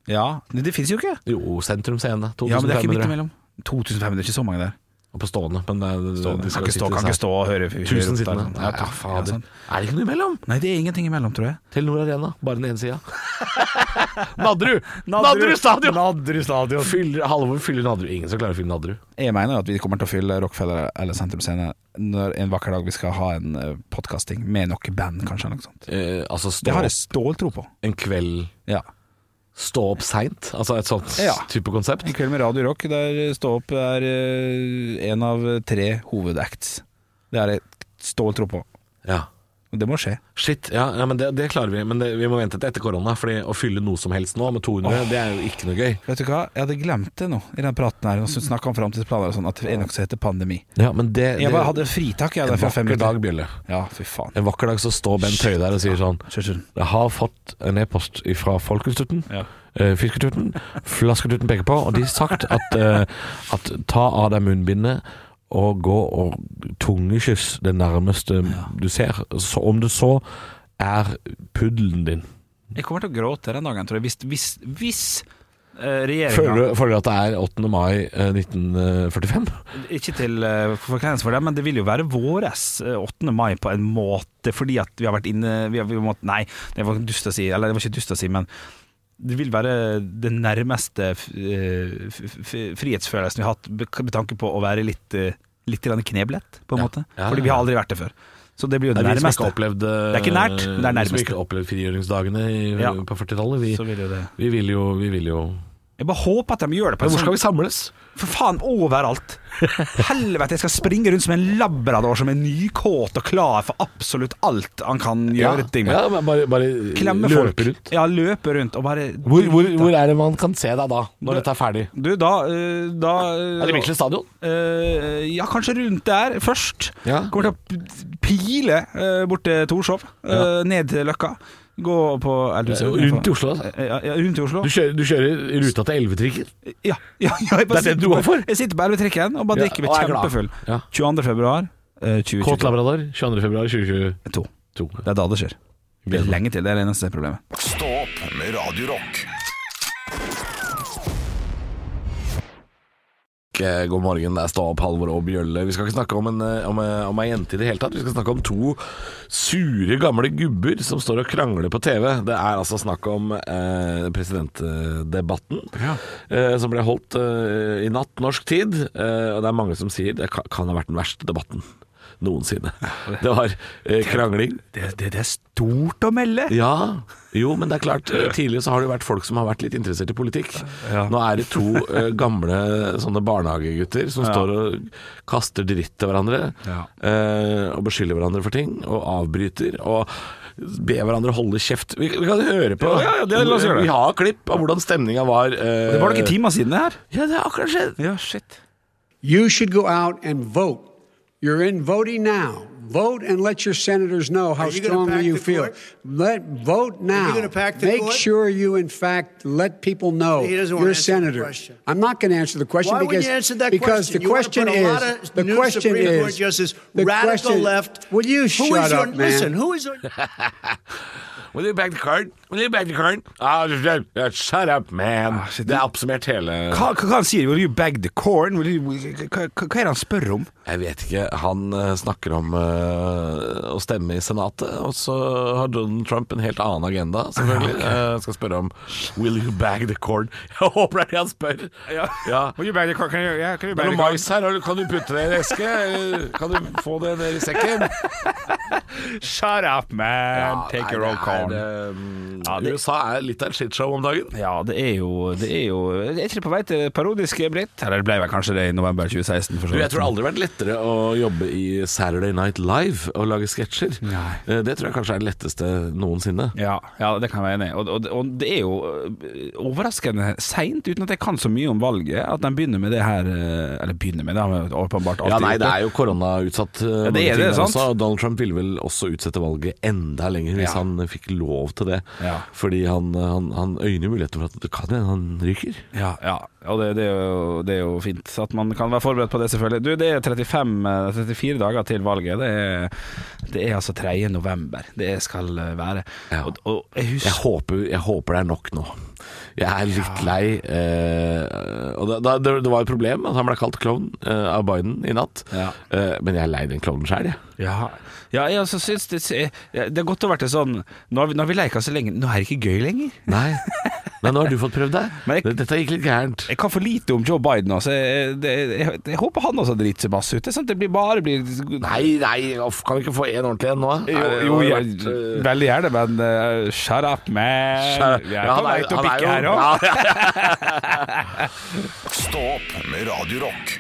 [SPEAKER 4] Ja, men det fins jo ikke.
[SPEAKER 3] Jo, Sentrum Scene. 2500.
[SPEAKER 4] Ja, men det er ikke midt imellom. 2500, ikke så mange der.
[SPEAKER 3] Og på stående. Men det, det,
[SPEAKER 4] Stå,
[SPEAKER 3] de
[SPEAKER 4] kan,
[SPEAKER 3] skal
[SPEAKER 4] ikke
[SPEAKER 3] jo
[SPEAKER 4] stå,
[SPEAKER 3] sitte
[SPEAKER 4] kan ikke stå og høre høre
[SPEAKER 3] Tusen
[SPEAKER 4] opp der.
[SPEAKER 3] sittende.
[SPEAKER 4] Ja,
[SPEAKER 3] Ja, ja, fader.
[SPEAKER 4] sånn.
[SPEAKER 3] Er det ikke noe imellom?
[SPEAKER 4] Nei, det er ingenting imellom, tror jeg.
[SPEAKER 3] Telenor Arena, bare den ene sida. Nadderud!
[SPEAKER 4] Nadderud
[SPEAKER 3] Nadderud stadion!
[SPEAKER 4] Nadderud stadion.
[SPEAKER 3] Fyller, Halvor fyller Nadderud. Ingen som klarer å fylle Nadderud.
[SPEAKER 4] Jeg mener jo at vi kommer til å fylle Rockefeller eller Sentrum Scene når en vakker dag vi skal ha en eh, podcasting med noe band, kanskje. Eller noe sånt.
[SPEAKER 3] Eh, altså
[SPEAKER 4] Det
[SPEAKER 3] stå
[SPEAKER 4] har jeg ståltro på.
[SPEAKER 3] en kveld
[SPEAKER 4] Ja.
[SPEAKER 3] Stå opp seint, altså et sånt
[SPEAKER 4] Ja.
[SPEAKER 3] type konsept.
[SPEAKER 4] En kveld med Radio Rock der Stå opp er eh, en av tre hovedacts. Det har jeg ståltro på.
[SPEAKER 3] Ja.
[SPEAKER 4] Og det må skje.
[SPEAKER 3] Shit, ja, ja men det, det klarer vi. Men det, vi må vente til etter korona. Fordi å fylle noe som helst nå med 200, det er jo ikke noe gøy.
[SPEAKER 4] Vet du hva, jeg hadde glemt det nå i den praten her. Og så snakka om framtidsplaner og sånn, at det er noe som heter pandemi.
[SPEAKER 3] Ja, men det,
[SPEAKER 4] Jeg bare hadde fritak jeg
[SPEAKER 3] En
[SPEAKER 4] der fra fem
[SPEAKER 3] vakker dag,
[SPEAKER 4] minutter.
[SPEAKER 3] Bjølle.
[SPEAKER 4] Ja, fy faen.
[SPEAKER 3] En vakker dag så står Bent Høie der og sier sånn
[SPEAKER 4] Kjør,
[SPEAKER 3] Jeg har fått en e-post fra Folketuten.
[SPEAKER 4] Ja.
[SPEAKER 3] eh, Fisketuten. Flasketuten peker på, og de har sagt at, eh, at ta av deg munnbindet og gå og tungekyss det nærmeste du ser. Så om det så er puddelen din.
[SPEAKER 4] Jeg kommer til å gråte den dagen, tror jeg. Hvis, hvis, hvis
[SPEAKER 3] Føler
[SPEAKER 4] eh, regjeringa
[SPEAKER 3] du, føler du at det er 8. mai eh, 1945?
[SPEAKER 4] Ikke til eh, forkleinelse for det, men det vil jo være våres eh, 8. mai på en måte, fordi at vi har vært inne vi har, vi må, Nei, det var dust å si, eller det var ikke dust å si, men det vil være det nærmeste f- eh, f- f- frihetsfølelsen vi har hatt be- med tanke på å være litt, eh, litt grann kneblet, på en
[SPEAKER 3] Ja.
[SPEAKER 4] måte.
[SPEAKER 3] Ja,
[SPEAKER 4] Fordi
[SPEAKER 3] ja,
[SPEAKER 4] vi har
[SPEAKER 3] ja.
[SPEAKER 4] aldri vært det før. Så det blir jo
[SPEAKER 3] Det
[SPEAKER 4] det
[SPEAKER 3] er vi som
[SPEAKER 4] nærmeste.
[SPEAKER 3] ikke har opplevd eh,
[SPEAKER 4] Det er ikke nært, men det er
[SPEAKER 3] vi som
[SPEAKER 4] nærmeste.
[SPEAKER 3] ikke har opplevd frigjøringsdagene i,
[SPEAKER 4] Ja.
[SPEAKER 3] på 40-tallet. Vi,
[SPEAKER 4] Så vil jo det.
[SPEAKER 3] vi vil jo, vi vil jo.
[SPEAKER 4] Jeg bare håper at de gjør det på
[SPEAKER 3] Men
[SPEAKER 4] en
[SPEAKER 3] hvor
[SPEAKER 4] sånn
[SPEAKER 3] skal vi samles?
[SPEAKER 4] For faen, overalt! Helvete, jeg skal springe rundt som en labrador som er nykåt og klar for absolutt alt han kan gjøre ting med.
[SPEAKER 3] ja men bare, bare
[SPEAKER 4] Klemme
[SPEAKER 3] løpe
[SPEAKER 4] folk.
[SPEAKER 3] rundt.
[SPEAKER 4] Ja, løpe rundt og bare
[SPEAKER 3] Hvor, hvor, hvor er det man kan se deg da, når dette er ferdig?
[SPEAKER 4] Du, da, eh, da eh,
[SPEAKER 3] Er det Bislett stadion?
[SPEAKER 4] eh, Ja, kanskje rundt der først.
[SPEAKER 3] Ja.
[SPEAKER 4] Kommer til å p- pile eh, bort til Torshov, eh,
[SPEAKER 3] Ja.
[SPEAKER 4] ned til Løkka. Gå på eller,
[SPEAKER 3] Eh, rundt i Oslo, altså.
[SPEAKER 4] Ja, ja, rundt i Oslo.
[SPEAKER 3] Du kjører, du kjører ruta til Elvetrikken?
[SPEAKER 4] Ja, ja, ja jeg
[SPEAKER 3] Det er
[SPEAKER 4] bare
[SPEAKER 3] det
[SPEAKER 4] sitter
[SPEAKER 3] du
[SPEAKER 4] på-
[SPEAKER 3] går for?
[SPEAKER 4] Jeg sitter på elvetrikken og bare
[SPEAKER 3] Ja,
[SPEAKER 4] drikker meg
[SPEAKER 3] og er glad.
[SPEAKER 4] kjempefull.
[SPEAKER 3] Ja.
[SPEAKER 4] 22. februar eh, 2022.
[SPEAKER 3] Kåt Labrador, 22.2.2022.
[SPEAKER 4] To. Det er da det skjer. Det er lenge til, det er det eneste problemet.
[SPEAKER 1] Stå opp med Radio Rock.
[SPEAKER 3] Eh, God morgen, det er Stå opp, Halvor og Bjølle. Vi skal ikke snakke om en, eh, om, eh, om ei jente i det hele tatt. Vi skal snakke om to sure gamle gubber som står og krangler på TV. Det er altså snakk om eh, presidentdebatten eh, som ble holdt eh, i natt norsk tid. Eh, og det er mange som sier det kan, kan ha vært den verste debatten noensinne. Det var eh, krangling.
[SPEAKER 4] Det, det, det er stort å melde!
[SPEAKER 3] Ja, jo, men det er klart eh, Tidligere så har det jo vært folk som har vært litt interessert i politikk Nå er det to eh, gamle Sånne barnehagegutter Som står og kaster dritt til hverandre
[SPEAKER 4] Ja.
[SPEAKER 3] eh, Og beskylder hverandre for ting Og avbryter Og ber hverandre holde kjeft Vi, vi kan høre på
[SPEAKER 4] Ja, ja, det- la oss gjøre det.
[SPEAKER 3] Vi har klipp av hvordan stemningen var eh,
[SPEAKER 4] Det var noen timer siden det her.
[SPEAKER 3] Ja, det har akkurat skjedd
[SPEAKER 4] Ja, shit.
[SPEAKER 5] You should go out and vote. You're in voting now. Vote and let your senators know how
[SPEAKER 6] Are you gonna
[SPEAKER 5] strongly
[SPEAKER 6] pack
[SPEAKER 5] you
[SPEAKER 6] the
[SPEAKER 5] feel.
[SPEAKER 6] court?
[SPEAKER 5] Let vote now.
[SPEAKER 6] gonna pack the
[SPEAKER 5] Make
[SPEAKER 6] court?
[SPEAKER 5] sure you, in fact, let people know
[SPEAKER 6] He doesn't wanna
[SPEAKER 5] you're a
[SPEAKER 6] answer the
[SPEAKER 5] senator.
[SPEAKER 6] question.
[SPEAKER 5] I'm not going to answer the question
[SPEAKER 6] Why
[SPEAKER 5] because
[SPEAKER 6] wouldn't you answer that
[SPEAKER 5] because
[SPEAKER 6] question?
[SPEAKER 5] the
[SPEAKER 6] You wanna
[SPEAKER 5] question
[SPEAKER 6] put a
[SPEAKER 5] is
[SPEAKER 6] lot of
[SPEAKER 5] the
[SPEAKER 6] new
[SPEAKER 5] question
[SPEAKER 6] Supreme
[SPEAKER 5] is
[SPEAKER 6] Court justice,
[SPEAKER 5] the
[SPEAKER 6] radical
[SPEAKER 5] question-
[SPEAKER 6] left.
[SPEAKER 5] Will you shut
[SPEAKER 6] who is
[SPEAKER 5] up,
[SPEAKER 6] your,
[SPEAKER 5] man?
[SPEAKER 6] Listen, who is your,
[SPEAKER 3] Will you back the card? Will you back the card? Ah, shut up, man.
[SPEAKER 4] Ah, shit.
[SPEAKER 3] Det er oppsummert hele
[SPEAKER 4] Hva, hva, hva han sier? Will you bag the corn? Will you, hva, hva, hva er det han spør om?
[SPEAKER 3] Jeg vet ikke. Han eh, snakker om eh, å stemme i Senatet, og så har Donald Trump en helt annen agenda, selvfølgelig. Eh, skal spørre om Will you bag the corn? Jeg håper det er det han spør. Ja.
[SPEAKER 4] Ah. Will you bag the corn? Kan jeg, ja, kan
[SPEAKER 3] Det er noe mais her, har du- kan du putte det i en eske? Eller Kan du få det ned i sekken?
[SPEAKER 4] Shut up, man.
[SPEAKER 3] Ja, nei, det er, eh,
[SPEAKER 4] Ja, det-
[SPEAKER 3] USA er litt av et shitshow om dagen.
[SPEAKER 4] Ja, det er jo Det er jo Jeg er ikke på vei til parodisk blitt. Eller det ble vel kanskje det i november 2016. For så
[SPEAKER 3] Du,
[SPEAKER 4] vidt.
[SPEAKER 3] jeg tror aldri det har vært lettere å jobbe i Saturday Night Live og lage sketsjer.
[SPEAKER 4] Nei.
[SPEAKER 3] Eh, Det tror jeg kanskje er det letteste noensinne.
[SPEAKER 4] Ja, ja, det kan jeg være enig i. Og, og, og det er jo øh, overraskende seint, uten at jeg kan så mye om valget, at de begynner med det her øh, Eller begynner med det, har vi åpenbart alltid
[SPEAKER 3] Ja, nei,
[SPEAKER 4] gjort
[SPEAKER 3] det er jo koronautsatt. eh,
[SPEAKER 4] Ja, det
[SPEAKER 3] mange
[SPEAKER 4] er
[SPEAKER 3] ting
[SPEAKER 4] det,
[SPEAKER 3] der
[SPEAKER 4] sant?
[SPEAKER 3] også. Donald Trump ville vel også utsette valget enda lenger hvis
[SPEAKER 4] Ja.
[SPEAKER 3] han eh, fikk lov til det.
[SPEAKER 4] Ja.
[SPEAKER 3] Fordi han, eh, han, han øyner muligheten for at det kan hende han ryker.
[SPEAKER 4] Ja, ja. og det, det, er jo, det er jo fint at man kan være forberedt på det, selvfølgelig. Du, det er 35, eh, 34 dager til valget. Det er, det er altså 3. november det skal eh, være.
[SPEAKER 3] Ja.
[SPEAKER 4] Og, og jeg
[SPEAKER 3] Jeg
[SPEAKER 4] husker
[SPEAKER 3] håper, jeg håper det er nok nå. Jeg er litt lei. eh, og da, da, det, det var et problem at han ble kalt klovn eh, av Biden i natt.
[SPEAKER 4] Ja.
[SPEAKER 3] Eh, men jeg er lei den klovnen sjøl, jeg.
[SPEAKER 4] Ja, ja jeg altså, syns det, det er godt å være til sånn Nå har vi, nå har vi leika så lenge, nå er det ikke gøy lenger.
[SPEAKER 3] Nei. Nei, nå har du fått prøvd deg.
[SPEAKER 4] Men jeg-
[SPEAKER 3] Dette gikk litt gærent.
[SPEAKER 4] Jeg kan for lite om Joe Biden. Altså. Jeg, det, jeg, jeg håper han også driter seg masse ut. Det, er sant? det blir bare blir
[SPEAKER 3] Nei, nei, off, kan vi ikke få en ordentlig en nå? da?
[SPEAKER 4] Jo,
[SPEAKER 3] Nei, det
[SPEAKER 4] jo
[SPEAKER 3] har
[SPEAKER 4] jeg,
[SPEAKER 3] vært, eh,
[SPEAKER 4] veldig gjerne, men eh, shut up, man. Eh, Vi er
[SPEAKER 3] Ja,
[SPEAKER 4] på
[SPEAKER 3] han
[SPEAKER 4] vei
[SPEAKER 3] er-
[SPEAKER 4] til å
[SPEAKER 3] han er
[SPEAKER 4] bikke her
[SPEAKER 3] jo-
[SPEAKER 4] òg.
[SPEAKER 3] Ja, ja, ja.
[SPEAKER 1] Stå opp med Radio Rock.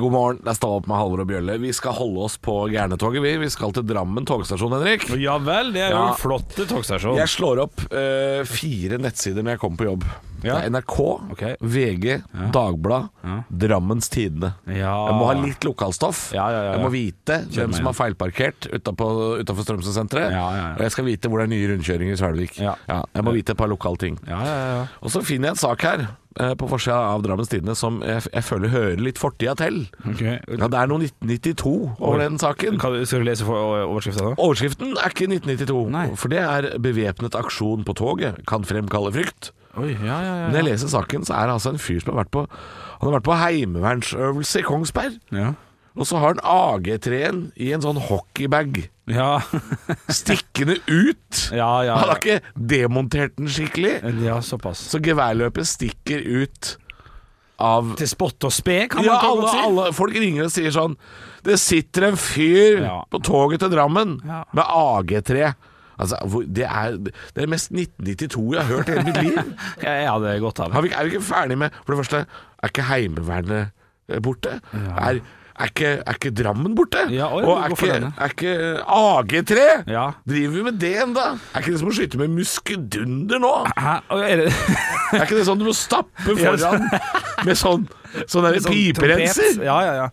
[SPEAKER 3] God morgen, det er Stå opp med Halvor og Bjølle. Vi skal holde oss på gærnetoget, vi. Vi skal til Drammen togstasjon, Henrik.
[SPEAKER 4] Ja vel, det er jo
[SPEAKER 3] Ja.
[SPEAKER 4] en flott togstasjon.
[SPEAKER 3] Jeg slår opp eh, fire nettsider når jeg kommer på jobb.
[SPEAKER 4] Ja.
[SPEAKER 3] Det er NRK,
[SPEAKER 4] Ok.
[SPEAKER 3] VG, Dagblad, Drammens Tidende.
[SPEAKER 4] Ja.
[SPEAKER 3] Jeg må ha litt lokalstoff.
[SPEAKER 4] Ja, ja, ja, ja.
[SPEAKER 3] Jeg må vite hvem
[SPEAKER 4] meg
[SPEAKER 3] som
[SPEAKER 4] igjen.
[SPEAKER 3] har feilparkert utafor Strømsøsenteret.
[SPEAKER 4] Ja, ja, ja.
[SPEAKER 3] Og jeg skal vite hvor det er nye rundkjøringer i Svelvik.
[SPEAKER 4] Ja.
[SPEAKER 3] jeg må vite et par lokale ting.
[SPEAKER 4] Ja, ja, ja.
[SPEAKER 3] Og så finner jeg en sak her eh, på forsida av Drammens Tidende som jeg, jeg føler hører litt fortida til. Ja, det er noe 1992 over den saken.
[SPEAKER 4] Kan, du- skal du lese for- overskriften da?
[SPEAKER 3] Overskriften er ikke 1992,
[SPEAKER 4] Nei.
[SPEAKER 3] for det er 'bevæpnet aksjon på toget kan fremkalle frykt'.
[SPEAKER 4] Oi, ja, ja, ja.
[SPEAKER 3] Når jeg leser saken, så er det altså en fyr som har vært på Han har vært på heimevernsøvelse i Kongsberg.
[SPEAKER 4] Ja.
[SPEAKER 3] Og så har han AG3-en i en sånn hockeybag
[SPEAKER 4] Ja.
[SPEAKER 3] stikkende ut.
[SPEAKER 4] ja, ja,
[SPEAKER 3] Han
[SPEAKER 4] ja.
[SPEAKER 3] har ikke demontert den skikkelig,
[SPEAKER 4] Ja, såpass.
[SPEAKER 3] så geværløpet stikker ut av
[SPEAKER 4] Til spott og spe, kan
[SPEAKER 3] ja,
[SPEAKER 4] man kan
[SPEAKER 3] alle,
[SPEAKER 4] godt si.
[SPEAKER 3] alle folk ringer og sier sånn Det sitter en fyr
[SPEAKER 4] Ja.
[SPEAKER 3] på toget til Drammen
[SPEAKER 4] Ja.
[SPEAKER 3] med AG3. Altså, hvor- det er det er det mest 1992 jeg har hørt i hele mitt liv.
[SPEAKER 4] Jeg, jeg hadde godt av det.
[SPEAKER 3] Har vi, er vi ikke ferdig med For det første, er ikke Heimevernet eh, borte? Er, er, ikke, er ikke Drammen borte?
[SPEAKER 4] Ja, oi,
[SPEAKER 3] og er
[SPEAKER 4] hvorfor
[SPEAKER 3] ikke,
[SPEAKER 4] denne?
[SPEAKER 3] er ikke AG3?
[SPEAKER 4] Ja.
[SPEAKER 3] Driver vi med det ennå? Er ikke det som å skyte med muskedunder nå?
[SPEAKER 4] Hæ? Oi, Er det
[SPEAKER 3] Er ikke det sånn du må stappe
[SPEAKER 4] Ja,
[SPEAKER 3] foran med sånn, sånn der
[SPEAKER 4] sånn trompet?
[SPEAKER 3] piperenser?
[SPEAKER 4] Ja, ja, ja.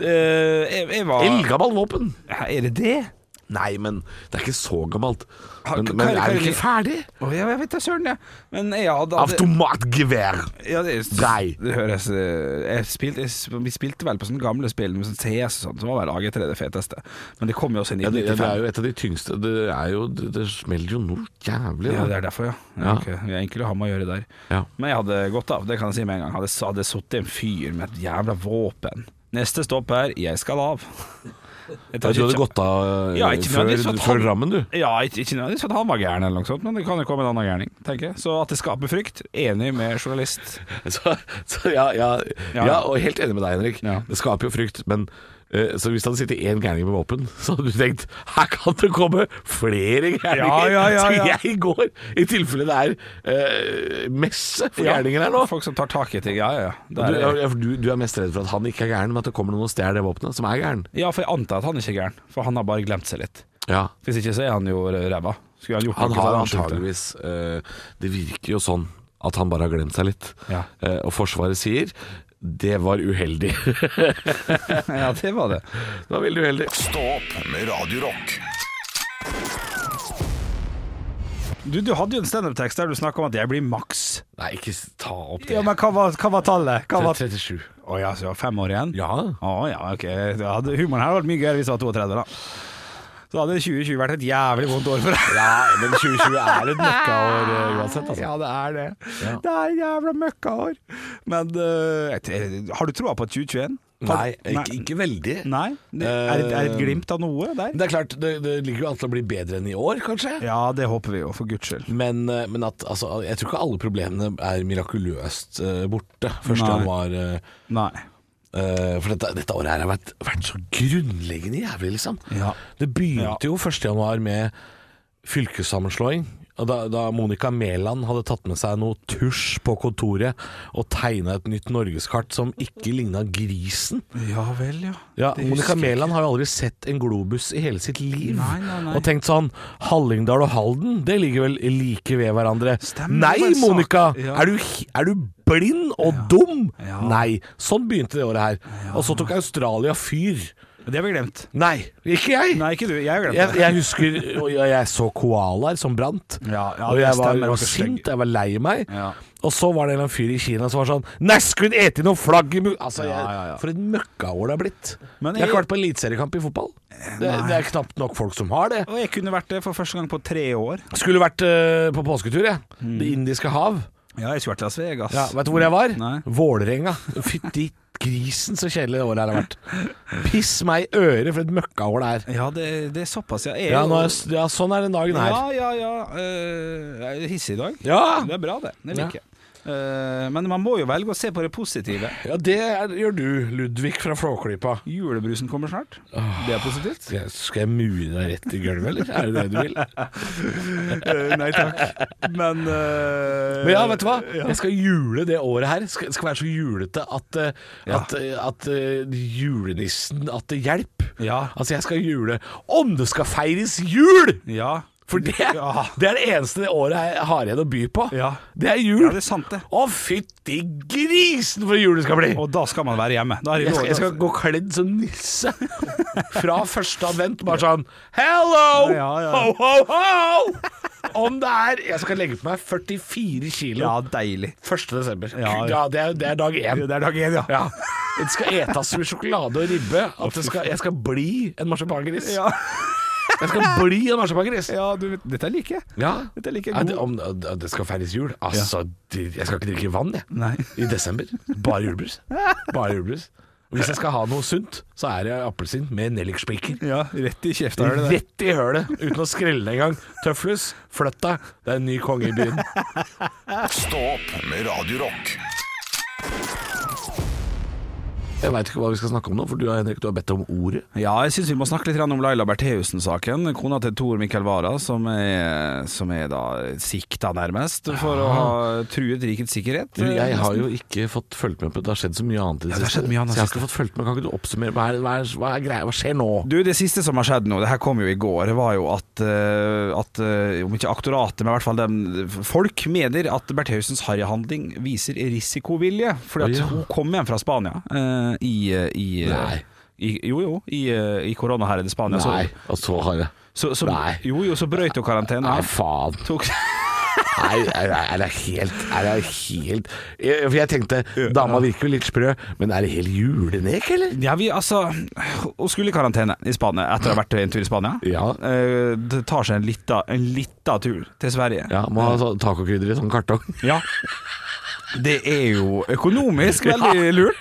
[SPEAKER 4] Eh, jeg, jeg var
[SPEAKER 3] Eldgammelt våpen.
[SPEAKER 4] Hæ, Er det det?
[SPEAKER 3] Ah. Nei, men det er ikke så gammelt.
[SPEAKER 4] Har-
[SPEAKER 3] Men,
[SPEAKER 4] hva-
[SPEAKER 3] men
[SPEAKER 4] hva-
[SPEAKER 3] er vi
[SPEAKER 4] hva-
[SPEAKER 3] ikke ferdig?
[SPEAKER 4] Å, ja, jeg vet da søren, jeg. Men jeg hadde
[SPEAKER 3] Ah, Automatgevær!
[SPEAKER 4] Ja, det,
[SPEAKER 3] Nei.
[SPEAKER 4] det høres eh, jeg spilte, jeg, Vi spilte vel på sånne gamle spill med sånn CS og sånn, så var vel AG3 det feteste. Men det kom jo også i
[SPEAKER 3] Ja, det, det er
[SPEAKER 4] 1995.
[SPEAKER 3] jo et av de tyngste Det, er jo, det, det smeller jo noe jævlig. da.
[SPEAKER 4] Ja, det er derfor, ja. ja.
[SPEAKER 3] Ja.
[SPEAKER 4] ok. Vi er enkle å ha med å gjøre der.
[SPEAKER 3] Ja.
[SPEAKER 4] Men jeg hadde gått av, det kan jeg si med en gang. Hadde, hadde sittet en fyr med et jævla våpen. Neste stopp er 'jeg skal av'. Jeg
[SPEAKER 3] Ja,
[SPEAKER 4] tar
[SPEAKER 3] du hadde
[SPEAKER 4] ikke-
[SPEAKER 3] gått av eh,
[SPEAKER 4] Ja, ikke
[SPEAKER 3] før,
[SPEAKER 4] nødvendigvis at han-
[SPEAKER 3] før Drammen, du.
[SPEAKER 4] Ja, ikke, ikke nødvendigvis at han var gæren, eller noe sånt, men det kan jo komme en annen gærning. tenker jeg. Så at det skaper frykt, enig med journalist.
[SPEAKER 3] Så, så ja, ja,
[SPEAKER 4] Ja.
[SPEAKER 3] ja. og helt enig med deg, Henrik.
[SPEAKER 4] Ja.
[SPEAKER 3] Det skaper jo frykt. Men eh, så hvis det hadde sittet én gærning med våpen, så hadde du tenkt her kan det komme flere gærninger.
[SPEAKER 4] Ja, ja, ja, ja.
[SPEAKER 3] Så jeg går, i tilfelle det er eh, messe for gærninger her nå.
[SPEAKER 4] Folk som tar tak i ting. Ja, ja, ja.
[SPEAKER 3] Du,
[SPEAKER 4] Der,
[SPEAKER 3] ja, for du, du er mest redd for at han ikke er gæren, men at det kommer noen og stjeler det våpenet, som er gæren.
[SPEAKER 4] ja, for jeg antar at han ikke er gæren, for han har bare glemt seg litt.
[SPEAKER 3] Ja.
[SPEAKER 4] Hvis ikke så er han jo ræva. Skulle han gjort
[SPEAKER 3] Han
[SPEAKER 4] noe, så
[SPEAKER 3] har
[SPEAKER 4] hadde skjønt det.
[SPEAKER 3] antageligvis eh, Det virker jo sånn at han bare har glemt seg litt.
[SPEAKER 4] Ja.
[SPEAKER 3] Eh, og Forsvaret sier Det var uheldig.
[SPEAKER 4] Ja, det var det.
[SPEAKER 3] det var veldig uheldig.
[SPEAKER 1] Stå opp med Radio Rock.
[SPEAKER 4] Du, du hadde jo en standup-tekst der du snakka om at jeg blir maks.
[SPEAKER 3] Nei, ikke s- ta opp det.
[SPEAKER 4] Ja, men hva var, hva var tallet? Hva var...
[SPEAKER 3] 37.
[SPEAKER 4] Å ja, så jeg var fem år igjen?
[SPEAKER 3] Ja.
[SPEAKER 4] Å ja, ok. Da hadde, humoren her hadde vært mye gøyere hvis jeg var 32, da. Så hadde 2020 vært et jævlig vondt år for deg.
[SPEAKER 3] ja, men 2020 er et møkkaår eh, uansett, altså.
[SPEAKER 4] Ja, det er det. Det er jævla møkkaår. Men eh, jeg t- har du troa på 2021? Har-
[SPEAKER 3] Nei, ikke, ikke veldig.
[SPEAKER 4] Nei? Det, er, det, er det et glimt av noe der?
[SPEAKER 3] Det er klart, det, det ligger jo an til å bli bedre enn i år, kanskje.
[SPEAKER 4] Ja, det håper vi jo, for guds skyld.
[SPEAKER 3] Men, eh, men at, altså, jeg tror ikke alle problemene er mirakuløst eh, borte 1.
[SPEAKER 4] Nei.
[SPEAKER 3] januar. eh,
[SPEAKER 4] Nei.
[SPEAKER 3] eh, for dette, dette året her har vært, vært så grunnleggende jævlig, liksom.
[SPEAKER 4] Ja.
[SPEAKER 3] Det begynte
[SPEAKER 4] Ja.
[SPEAKER 3] jo 1. januar med fylkessammenslåing. og Da, da Monica Mæland hadde tatt med seg noe tusj på kontoret og tegna et nytt norgeskart som ikke ligna grisen.
[SPEAKER 4] Ja vel, ja.
[SPEAKER 3] Ja,
[SPEAKER 4] Det
[SPEAKER 3] Monica
[SPEAKER 4] husker jeg
[SPEAKER 3] Mæland har jo aldri sett en globus i hele sitt liv.
[SPEAKER 4] Nei, nei, nei.
[SPEAKER 3] Og tenkt sånn Hallingdal og Halden, det ligger vel like ved hverandre.
[SPEAKER 4] Stemmer, det var
[SPEAKER 3] nei,
[SPEAKER 4] en sak.
[SPEAKER 3] Monica!
[SPEAKER 4] Ja.
[SPEAKER 3] Er, du, hi- er du blind og dum?
[SPEAKER 4] Ja.
[SPEAKER 3] Nei. Sånn begynte det året her. Og så tok Australia fyr.
[SPEAKER 4] ikke. Det har vi glemt.
[SPEAKER 3] Nei, ikke jeg!
[SPEAKER 4] Nei, ikke du. Jeg har glemt
[SPEAKER 3] Jeg,
[SPEAKER 4] det.
[SPEAKER 3] jeg husker og jeg, jeg så koalaer som brant.
[SPEAKER 4] Ja, ja,
[SPEAKER 3] og
[SPEAKER 4] det
[SPEAKER 3] jeg var,
[SPEAKER 4] stemmer, det var
[SPEAKER 3] var sint,
[SPEAKER 4] stygg.
[SPEAKER 3] jeg var lei meg.
[SPEAKER 4] Ja.
[SPEAKER 3] Og så var det en eller annen fyr i Kina som var sånn Nei, skulle hun ete noe flagg i mu... Altså, jeg,
[SPEAKER 4] Ja, ja, ja.
[SPEAKER 3] For et møkkaår det har blitt.
[SPEAKER 4] Men
[SPEAKER 3] jeg har
[SPEAKER 4] jeg- Eh,
[SPEAKER 3] ikke vært på eliteseriekamp i fotball. Det, det er knapt nok folk som har det.
[SPEAKER 4] Og jeg kunne vært det for første gang på tre år.
[SPEAKER 3] Skulle vært eh, på påsketur, jeg. Det indiske hav.
[SPEAKER 4] Ja, jeg skulle vært i Las Vegas.
[SPEAKER 3] Ja, Vet du hvor jeg var?
[SPEAKER 4] Mm. Nei.
[SPEAKER 3] Vålerenga. Fytti grisen, så kjedelig det året her har vært. Piss meg i øret for et møkkaår det er.
[SPEAKER 4] Ja, det, det er såpass, ja. Jeg,
[SPEAKER 3] Ja, nå er, ja, sånn er den dagen her.
[SPEAKER 4] Ja, ja, ja. Eh, jeg er hissig i dag.
[SPEAKER 3] Ja.
[SPEAKER 4] Det er bra, det. Det
[SPEAKER 3] Ah. Ja.
[SPEAKER 4] liker jeg. Eh, men man må jo velge å se på det positive.
[SPEAKER 3] Ja, det er, gjør du, Ludvig fra Flåklypa.
[SPEAKER 4] Julebrusen kommer snart. Det er positivt.
[SPEAKER 3] Skal jeg, skal jeg mure deg rett i gulvet, eller? Er det det du vil?
[SPEAKER 4] Eh, nei takk. Men eh,
[SPEAKER 3] Men ja, vet du hva? Jeg skal jule det året her. Skal, skal være så julete at, eh, at, eh, at eh, julenissen At det hjelper.
[SPEAKER 4] Ja.
[SPEAKER 3] Altså, jeg skal jule om det skal feires jul!
[SPEAKER 4] Ja.
[SPEAKER 3] For det,
[SPEAKER 4] Ja.
[SPEAKER 3] det er det eneste det året jeg har igjen å by på.
[SPEAKER 4] Ja.
[SPEAKER 3] Det er jul.
[SPEAKER 4] Ja, det er sant, det.
[SPEAKER 3] Å, fytti grisen for en jul det skal bli!
[SPEAKER 4] Og da skal man være hjemme. Da er det
[SPEAKER 3] Jeg skal,
[SPEAKER 4] lov-
[SPEAKER 3] jeg skal gå kledd som nisse fra første advent, bare sånn Hello!
[SPEAKER 4] Ja, ja.
[SPEAKER 3] Ho, ho, ho! Om det er Jeg skal legge på meg 44 kilo
[SPEAKER 4] Ja, deilig.
[SPEAKER 3] 1. desember. Ja,
[SPEAKER 4] Ja, ja.
[SPEAKER 3] det, er, det er dag én.
[SPEAKER 4] Det er dag én, ja.
[SPEAKER 3] Ja. Det skal etes med sjokolade og ribbe. At det skal, jeg skal bli en marsipangris.
[SPEAKER 4] Ja.
[SPEAKER 3] Jeg skal bli en marsipangris.
[SPEAKER 4] ja du, vet- dette liker jeg.
[SPEAKER 3] Ja.
[SPEAKER 4] Dette liker
[SPEAKER 3] Ja,
[SPEAKER 4] jeg
[SPEAKER 3] det,
[SPEAKER 4] godt.
[SPEAKER 3] om, det skal feires jul. Altså, det- jeg skal ikke drikke vann, jeg.
[SPEAKER 4] Nei.
[SPEAKER 3] I desember. Bare julebrus. Bare julebrus. Og Hvis jeg skal ha noe sunt, så er det appelsin med nellikspiker.
[SPEAKER 4] Ja, rett i kjefta er det det.
[SPEAKER 3] Rett i hølet, uten å skrelle det engang. Tøflus, flytt deg, det er en ny konge i byen.
[SPEAKER 1] Stå opp med Radio Rock.
[SPEAKER 3] Jeg veit ikke hva vi skal snakke om nå, for du Henrik, du har bedt om ordet.
[SPEAKER 4] Ja, jeg syns vi må snakke litt grann om Laila Bertheussen-saken. Kona til Tor Mikkel Wara, som, er- som er da sikta, nærmest, for å ha truet rikets sikkerhet.
[SPEAKER 3] Du, jeg har jo ikke fått fulgt med på Det har skjedd så mye annet i det
[SPEAKER 4] det har
[SPEAKER 3] siste.
[SPEAKER 4] skjedd mye annet
[SPEAKER 3] Så jeg har ikke fått fulgt med. Kan ikke du oppsummere? Hva, er, hva, er, hva, er greia? hva skjer nå?
[SPEAKER 4] Du, Det siste som har skjedd nå, det her kom jo i går, det var jo at, eh, at eh, om ikke aktoratet, men i hvert fall dem, folk mener at Berthausens harryhandling viser risikovilje. Fordi at
[SPEAKER 3] Å, ja.
[SPEAKER 4] hun kom hjem fra Spania eh, i, i
[SPEAKER 3] Nei.
[SPEAKER 4] I, jo, jo, i, eh, i koronaherredet Spania. så-
[SPEAKER 3] Nei, og så har jeg
[SPEAKER 4] Så, så,
[SPEAKER 3] Nei.
[SPEAKER 4] Jo, jo, så brøyt hun karantena.
[SPEAKER 3] Nei, faen.
[SPEAKER 4] Tok
[SPEAKER 3] Nei, er, er det helt, er det helt jeg, For jeg tenkte, dama virker jo litt sprø, men er det helt julenek, eller?
[SPEAKER 4] Ja, vi altså Hun skulle i karantene i Spania etter å ha vært en tur i Spania.
[SPEAKER 3] Ja.
[SPEAKER 4] Eh, det tar seg en lita, en lita tur til Sverige.
[SPEAKER 3] Ja, må ha så- tacokrydder i sånn kartong.
[SPEAKER 4] Ja. Det er jo økonomisk veldig lurt.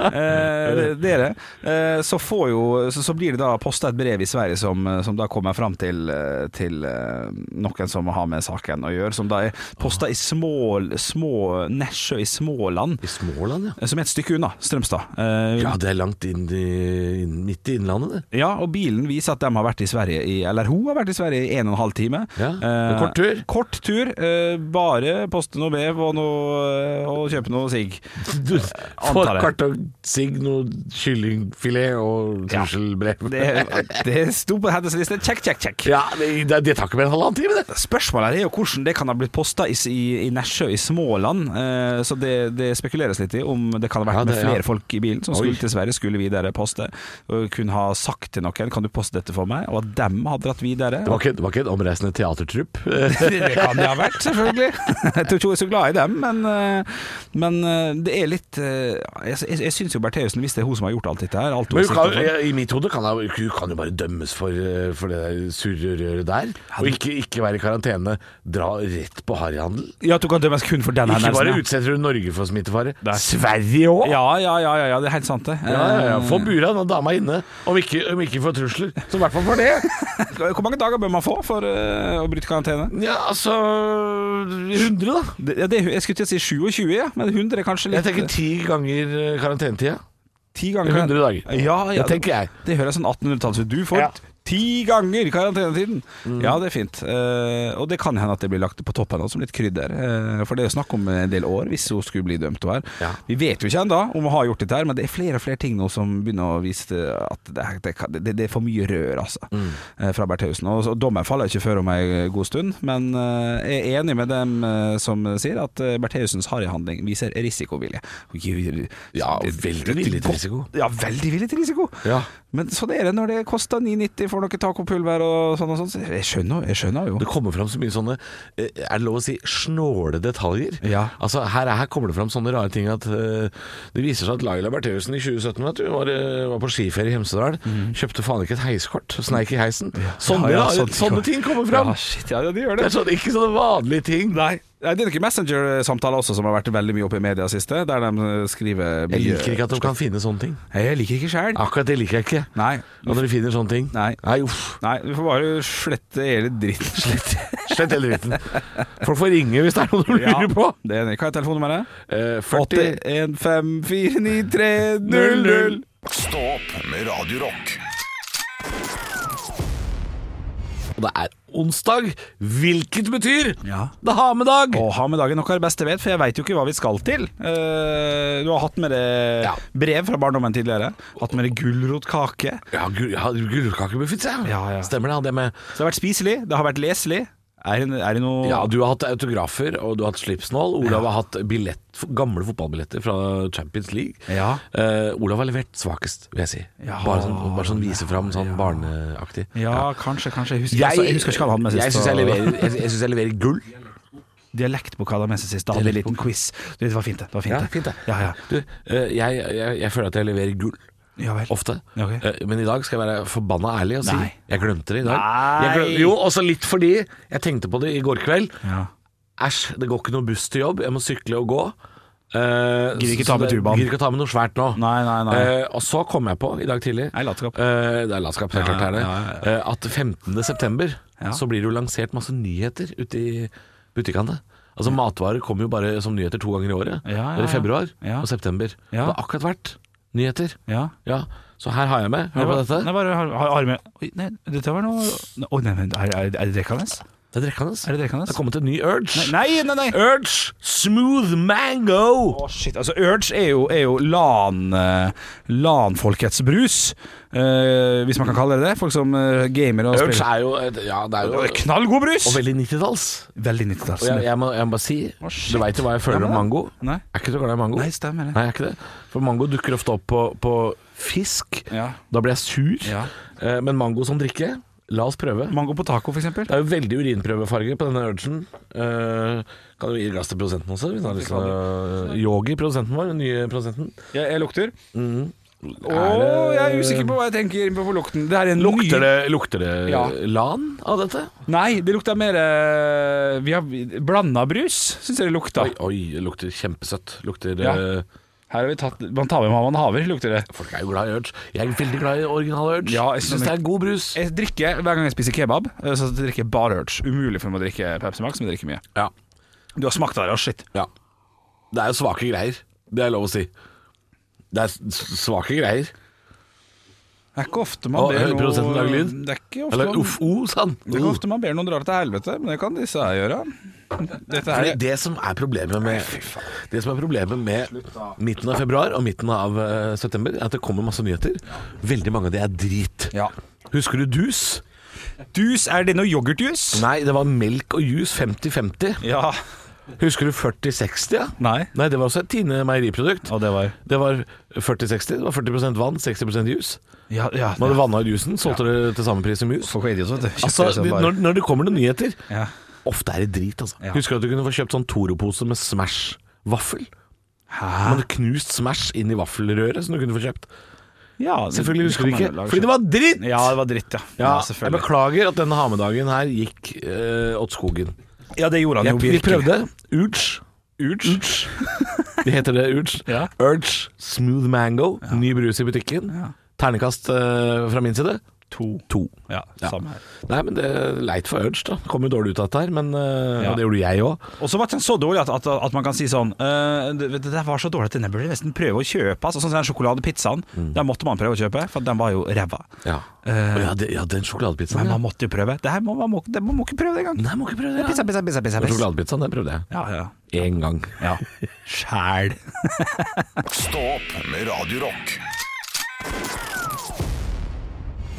[SPEAKER 4] Eh, det, det er det. Eh, så, får jo, så, så blir det da posta et brev i Sverige som, som da kommer fram til, eh, til eh, noen som har med saken å gjøre, som da er posta i små, små Nesjø i Småland,
[SPEAKER 3] I Småland, ja.
[SPEAKER 4] eh, som er et stykke unna Strømstad. Eh,
[SPEAKER 3] Ja, det er langt inn i, inn- midt i innlandet, det.
[SPEAKER 4] Ja, og bilen viser at de har vært i Sverige i, Eller hun har vært i Sverige i en og en halv time Eh,
[SPEAKER 3] Ja, det er kort tur.
[SPEAKER 4] Kort tur eh, Bare poste noe brev og noe eh, og kjøpe noe sigg. Eh,
[SPEAKER 3] Du får
[SPEAKER 4] Antar jeg.
[SPEAKER 3] kartong, sigg, noe kyllingfilet og
[SPEAKER 4] Ja.
[SPEAKER 3] trusselbrev.
[SPEAKER 4] Det, det sto på hendelseslisten. Check, check, check.
[SPEAKER 3] Ja, det, det, det tar ikke mer enn halvannen time, det.
[SPEAKER 4] Spørsmålet her er jo hvordan det kan ha blitt posta i, i, i Nesjø i Småland. Eh, så det, det spekuleres litt i om det kan ha vært
[SPEAKER 3] Ja, det-
[SPEAKER 4] med flere
[SPEAKER 3] ja.
[SPEAKER 4] folk i bilen som
[SPEAKER 3] Oi.
[SPEAKER 4] skulle til Sverige, skulle videre poste. Og kunne ha sagt til noen 'kan du poste dette for meg', og at dem har dratt videre.
[SPEAKER 3] Det var ikke, det var ikke en omreisende teatertrupp. Eh,
[SPEAKER 4] det kan det ha vært, selvfølgelig. Jeg tror ikke hun er så glad i dem, men, eh, men eh, det er litt eh, Jeg, jeg, jeg syns jo Bertheussen, hvis det er hun som har gjort alt dette her alt hun
[SPEAKER 3] Men hun
[SPEAKER 4] har
[SPEAKER 3] kan,
[SPEAKER 4] sett og sånn.
[SPEAKER 3] i mitt hode kan hun hun kan jo bare dømmes for, eh, for det der surre røret der. Og ikke, ikke være i karantene. Dra rett på harryhandel.
[SPEAKER 4] Ja, at du kan dømmes kun for den
[SPEAKER 3] Ikke bare
[SPEAKER 4] hendelsen, sånn, ja.
[SPEAKER 3] utsetter hun Norge for smittefare.
[SPEAKER 4] Nei.
[SPEAKER 3] Sverige òg!
[SPEAKER 4] Ja, ja, ja, ja, ja, det er helt sant, det. Eh,
[SPEAKER 3] Ja, ja, ja. Få bura den dama inne. Om ikke, om ikke for trusler, så i hvert fall for det.
[SPEAKER 4] Eh, Hvor mange dager bør man få for eh, å bryte karantene?
[SPEAKER 3] Ja, altså 100, da.
[SPEAKER 4] Det, ja, det, jeg skulle til å si 27, ja, men 100 er kanskje litt
[SPEAKER 3] Jeg tenker ti ganger eh, karantenetida.
[SPEAKER 4] ti ganger
[SPEAKER 3] 100 dager.
[SPEAKER 4] Ja, ja,
[SPEAKER 3] det tenker jeg.
[SPEAKER 4] Det høres sånn 1800-tallet ut. Du får
[SPEAKER 3] Ja.
[SPEAKER 4] ti ganger karantenetiden!
[SPEAKER 3] Mm.
[SPEAKER 4] Ja, det er fint. Eh, og det kan hende at det blir lagt på toppen også, som litt krydder. Eh, for det er jo snakk om en del år, hvis hun skulle bli dømt. hun Her.
[SPEAKER 3] Ja.
[SPEAKER 4] Vi vet jo ikke ennå om hun har gjort dette, her men det er flere og flere ting nå som begynner å vise at det, er- det, kan- det, det er for mye rør, altså,
[SPEAKER 3] Mm.
[SPEAKER 4] eh, fra Bertheussen. Og, så- og dommen faller ikke før om ei god stund, men eh, jeg er enig med dem eh, som sier at eh, Bertheussens harryhandling viser risikovilje. Hun gir-
[SPEAKER 3] Ja,
[SPEAKER 4] det-
[SPEAKER 3] veldig villig til risiko.
[SPEAKER 4] ja, veldig villig til risiko.
[SPEAKER 3] Ja.
[SPEAKER 4] Men sånn er det når det koster 9,90 for noe tacopulver og sånn og sånn. Så Jeg skjønner, jeg skjønner jo.
[SPEAKER 3] Det kommer fram så mye sånne eh, Er det lov å si snåle detaljer?
[SPEAKER 4] Ja.
[SPEAKER 3] Altså, her, er- her kommer det fram sånne rare ting at eh, Det viser seg at Laila Bertheussen i 2017 vet du, var, eh, var på skiferie i Hemsedal. Kjøpte faen ikke et heiskort. Sneik i heisen. Sånne,
[SPEAKER 4] Mhm. Ja, ja,
[SPEAKER 3] rare-
[SPEAKER 4] sånn-
[SPEAKER 3] sånne ting kommer fram!
[SPEAKER 4] Ja, shit, ja, ja, de gjør
[SPEAKER 3] Det
[SPEAKER 4] det.
[SPEAKER 3] er sånn, ikke sånne vanlige ting.
[SPEAKER 4] Nei. Nei, Det er noen Messenger-samtaler også som har vært veldig mye oppe i media siste, der de eh, skriver
[SPEAKER 3] Jeg liker ikke at de kan finne sånne ting.
[SPEAKER 4] Jeg liker ikke sjæl.
[SPEAKER 3] Akkurat det liker jeg ikke.
[SPEAKER 4] Nei.
[SPEAKER 3] Når dere finner sånne ting.
[SPEAKER 4] Nei.
[SPEAKER 3] Nei, uff.
[SPEAKER 4] Nei, du får bare slette hele dritten.
[SPEAKER 3] Slett hele dritten. Folk får ringe hvis det er noe de
[SPEAKER 4] Ja.
[SPEAKER 3] lurer på.
[SPEAKER 4] Det er, hva er telefonnummeret?
[SPEAKER 3] Eh, 40
[SPEAKER 4] 81549300.
[SPEAKER 1] Stå opp med Radio Rock.
[SPEAKER 3] Og det er onsdag, hvilket betyr
[SPEAKER 4] Ja.
[SPEAKER 3] det har med dag.
[SPEAKER 4] Å ha med dagen noe av det beste jeg vet, for jeg veit jo ikke hva vi skal til. Eh, du har hatt med deg
[SPEAKER 3] Ja.
[SPEAKER 4] brev fra barndommen tidligere. Hatt med deg gulrotkake.
[SPEAKER 3] Ja, gul, ja gulrotkakemuffins, ja.
[SPEAKER 4] Ja, ja.
[SPEAKER 3] Stemmer det. hadde jeg med.
[SPEAKER 4] Så det har vært spiselig, det har vært leselig. Er det, er det noe
[SPEAKER 3] Ja, du har hatt autografer, og du har hatt slipsnål. Olav har hatt billett, f- gamle fotballbilletter fra Champions League.
[SPEAKER 4] Ja.
[SPEAKER 3] Eh, Olav har levert svakest, vil jeg si.
[SPEAKER 4] Ja,
[SPEAKER 3] bare sånn, bare sånn vise fram, sånn barneaktig.
[SPEAKER 4] Ja, kanskje, kanskje. Jeg husker, altså, jeg husker ikke hva han hadde med
[SPEAKER 3] jeg
[SPEAKER 4] sist.
[SPEAKER 3] syns jeg,
[SPEAKER 4] og-
[SPEAKER 3] leverer- jeg, jeg synes jeg leverer gull.
[SPEAKER 4] Dialekt på hva han hadde med seg sist. Da hadde vi en liten quiz. Du, det var fint, det. det, var fint,
[SPEAKER 3] Ja, fint det.
[SPEAKER 4] Ja, ja.
[SPEAKER 3] Du, eh, jeg, jeg, jeg føler at jeg leverer gull.
[SPEAKER 4] Ja vel.
[SPEAKER 3] Ofte.
[SPEAKER 4] Ja, ok.
[SPEAKER 3] Eh, Men i dag skal jeg være forbanna ærlig og si
[SPEAKER 4] Nei.
[SPEAKER 3] jeg glemte det i dag.
[SPEAKER 4] Nei.
[SPEAKER 3] Jeg glem- jo, også litt fordi jeg tenkte på det i går kveld.
[SPEAKER 4] Ja.
[SPEAKER 3] Æsj, det går ikke noe buss til jobb. Jeg må sykle og gå. Uh,
[SPEAKER 4] Gidder ikke ta med turbanen.
[SPEAKER 3] Gidder ikke ta med noe svært nå.
[SPEAKER 4] Nei, nei, nei.
[SPEAKER 3] Eh, og så kom jeg på i dag tidlig
[SPEAKER 4] Nei, latskap.
[SPEAKER 3] eh, Det er latskap, det er
[SPEAKER 4] Ja,
[SPEAKER 3] klart det er det.
[SPEAKER 4] ja, ja,
[SPEAKER 3] eh, at 15. september
[SPEAKER 4] Ja.
[SPEAKER 3] så blir det jo lansert masse nyheter ute i butikkene. Altså Matvarer kommer jo bare som nyheter to ganger i året.
[SPEAKER 4] Ja, ja,
[SPEAKER 3] Det er I februar
[SPEAKER 4] ja.
[SPEAKER 3] og september.
[SPEAKER 4] Ja.
[SPEAKER 3] Det har akkurat vært nyheter.
[SPEAKER 4] Ja.
[SPEAKER 3] Ja, Så her har jeg med. Hør på dette.
[SPEAKER 4] Nei, bare har, har armen Oi, nei, dette var noe Å, nei, men er, er, er det drikkende?
[SPEAKER 3] Det er drikkende.
[SPEAKER 4] Er det drikkende?
[SPEAKER 3] Det har kommet en ny Urge.
[SPEAKER 4] Nei, nei, nei!
[SPEAKER 3] Urge Smooth Mango.
[SPEAKER 4] Å, shit, altså Urge er jo, er jo LAN, eh, LAN-folkets brus, eh, hvis man kan kalle det det. Folk som eh, gamer og
[SPEAKER 3] Urge
[SPEAKER 4] spiller.
[SPEAKER 3] er jo et, Ja, det er jo
[SPEAKER 4] Det er Knallgod brus!
[SPEAKER 3] Og veldig 90-talls.
[SPEAKER 4] Veldig altså.
[SPEAKER 3] Og jeg,
[SPEAKER 4] 90-talls.
[SPEAKER 3] jeg, må, jeg må bare si
[SPEAKER 4] shit.
[SPEAKER 3] Du veit jo hva jeg føler
[SPEAKER 4] Ja, men
[SPEAKER 3] om
[SPEAKER 4] da.
[SPEAKER 3] mango.
[SPEAKER 4] Nei.
[SPEAKER 3] Jeg er ikke så glad i mango.
[SPEAKER 4] Nei, stemmer det.
[SPEAKER 3] Nei, jeg er ikke det. For mango dukker ofte opp på, på fisk.
[SPEAKER 4] Ja.
[SPEAKER 3] Da blir jeg sur.
[SPEAKER 4] Ja.
[SPEAKER 3] Eh, men mango som drikke, la oss prøve.
[SPEAKER 4] Mango på taco, for eksempel.
[SPEAKER 3] Det er jo veldig urinprøvefarge på denne urgen. Eh, kan jo gi glass til produsenten også. Hvis han har lyst til å Yogi, produsenten vår. Den nye produsenten.
[SPEAKER 4] Jeg, jeg lukter. Å,
[SPEAKER 3] Er det-
[SPEAKER 4] jeg er usikker på hva jeg tenker på lukten. Det her er en
[SPEAKER 3] Lukter
[SPEAKER 4] ny...
[SPEAKER 3] det, lukter det
[SPEAKER 4] Ja.
[SPEAKER 3] lan av dette?
[SPEAKER 4] Nei, det lukter mer eh, Vi har blanda brus, syns jeg det lukta.
[SPEAKER 3] Oi, oi, det lukter kjempesøtt. Lukter
[SPEAKER 4] Ja.
[SPEAKER 3] eh,
[SPEAKER 4] Her har vi tatt Man tar med hva man haver, lukter det.
[SPEAKER 3] Folk er jo glad i urge. Jeg er veldig glad i original urge.
[SPEAKER 4] Ja, jeg
[SPEAKER 3] jeg syns det
[SPEAKER 4] skjønner.
[SPEAKER 3] er god brus.
[SPEAKER 4] Jeg drikker hver gang jeg spiser kebab, eh, så drikker jeg bare Urge. Umulig for meg å drikke Pepsi Max, men jeg drikker mye.
[SPEAKER 3] Ja.
[SPEAKER 4] Du har smakt det her, shit.
[SPEAKER 3] ja. Det er jo svake greier. Det er lov å si. Det er s- svake greier.
[SPEAKER 4] Det er ikke ofte
[SPEAKER 3] Å,
[SPEAKER 4] man ber
[SPEAKER 3] hører
[SPEAKER 4] noe-
[SPEAKER 3] produsenten lage lyd?
[SPEAKER 4] Det er ikke ofte
[SPEAKER 3] Eller
[SPEAKER 4] man-
[SPEAKER 3] uff, oh, o, sa han.
[SPEAKER 4] Det er ikke ofte man ber noen dra til helvete, men det kan disse her gjøre. Dette
[SPEAKER 3] For
[SPEAKER 4] her
[SPEAKER 3] det er Oh. det som er problemet med Det som er problemet med midten av februar og midten av eh, september, er at det kommer masse nyheter. Veldig mange av de er drit.
[SPEAKER 4] Ja.
[SPEAKER 3] Husker du dus?
[SPEAKER 4] Dus, er det noe yoghurtjus?
[SPEAKER 3] Nei, det var melk og jus 50-50.
[SPEAKER 4] Ja.
[SPEAKER 3] Husker du 40-60? Ja?
[SPEAKER 4] Nei.
[SPEAKER 3] Nei, det var også et Tine meieriprodukt.
[SPEAKER 4] Og det var
[SPEAKER 3] Det var 40-60. Det var 40 vann, 60 jus.
[SPEAKER 4] Ja, ja.
[SPEAKER 3] Man hadde vanna jusen, solgte det til samme pris som jus.
[SPEAKER 4] Folk var idioter, vet du. Kjøpte
[SPEAKER 3] Altså,
[SPEAKER 4] det som bare-
[SPEAKER 3] når, når det kommer noen nyheter
[SPEAKER 4] ja.
[SPEAKER 3] Ofte er det drit, altså.
[SPEAKER 4] Ja.
[SPEAKER 3] Husker du at du kunne få kjøpt sånn Toro-pose med Smash-vaffel? Man
[SPEAKER 4] Hæ?
[SPEAKER 3] hadde knust Smash inn i vaffelrøret som du kunne få kjøpt.
[SPEAKER 4] Ja,
[SPEAKER 3] Selvfølgelig husker du ikke, fordi det
[SPEAKER 4] Fordi det var
[SPEAKER 3] var dritt!
[SPEAKER 4] Ja, det var dritt, ja.
[SPEAKER 3] Ja,
[SPEAKER 4] Ja,
[SPEAKER 3] jeg
[SPEAKER 4] selvfølgelig.
[SPEAKER 3] beklager at denne hamedagen her gikk eh, åt skogen.
[SPEAKER 4] Ja, det gjorde han
[SPEAKER 3] Jeg,
[SPEAKER 4] jo
[SPEAKER 3] vi
[SPEAKER 4] virkelig.
[SPEAKER 3] prøvde. Urge. Urge. De heter det Urge.
[SPEAKER 4] Ja.
[SPEAKER 3] Urge Smooth Mango. Ny brus i butikken.
[SPEAKER 4] Ja.
[SPEAKER 3] Ternekast eh, fra min side.
[SPEAKER 4] To.
[SPEAKER 3] To.
[SPEAKER 4] Ja,
[SPEAKER 3] Ja.
[SPEAKER 4] samme her.
[SPEAKER 3] Nei, men det er leit for Urge, da. Kom jo dårlig ut av dette her, men eh,
[SPEAKER 4] Ja.
[SPEAKER 3] og det gjorde jeg òg.
[SPEAKER 4] Og så var den så dårlig at, at, at man kan si sånn «Eh, det, det der var så dårlig at denne burde jeg nesten prøve å kjøpe. Altså, sånn som den sjokoladepizzaen.
[SPEAKER 3] Mm.
[SPEAKER 4] Den måtte man prøve å kjøpe, for den var jo ræva.
[SPEAKER 3] Ja.
[SPEAKER 4] Eh,
[SPEAKER 3] ja, det- ja, den sjokoladepizzaen.
[SPEAKER 4] Men
[SPEAKER 3] Ja.
[SPEAKER 4] man måtte jo prøve. Det her må man må, det må, må ikke prøve det engang.
[SPEAKER 3] Nei, må ikke prøve det.
[SPEAKER 4] Pizza,
[SPEAKER 3] Ja.
[SPEAKER 4] pizza, pizza, pizza,
[SPEAKER 3] Den
[SPEAKER 4] pizza.
[SPEAKER 3] Sjokoladepizzaen, den prøvde jeg.
[SPEAKER 4] Ja, ja.
[SPEAKER 3] Én gang.
[SPEAKER 4] ja. Sjæl.
[SPEAKER 1] Stå opp med Radio Rock.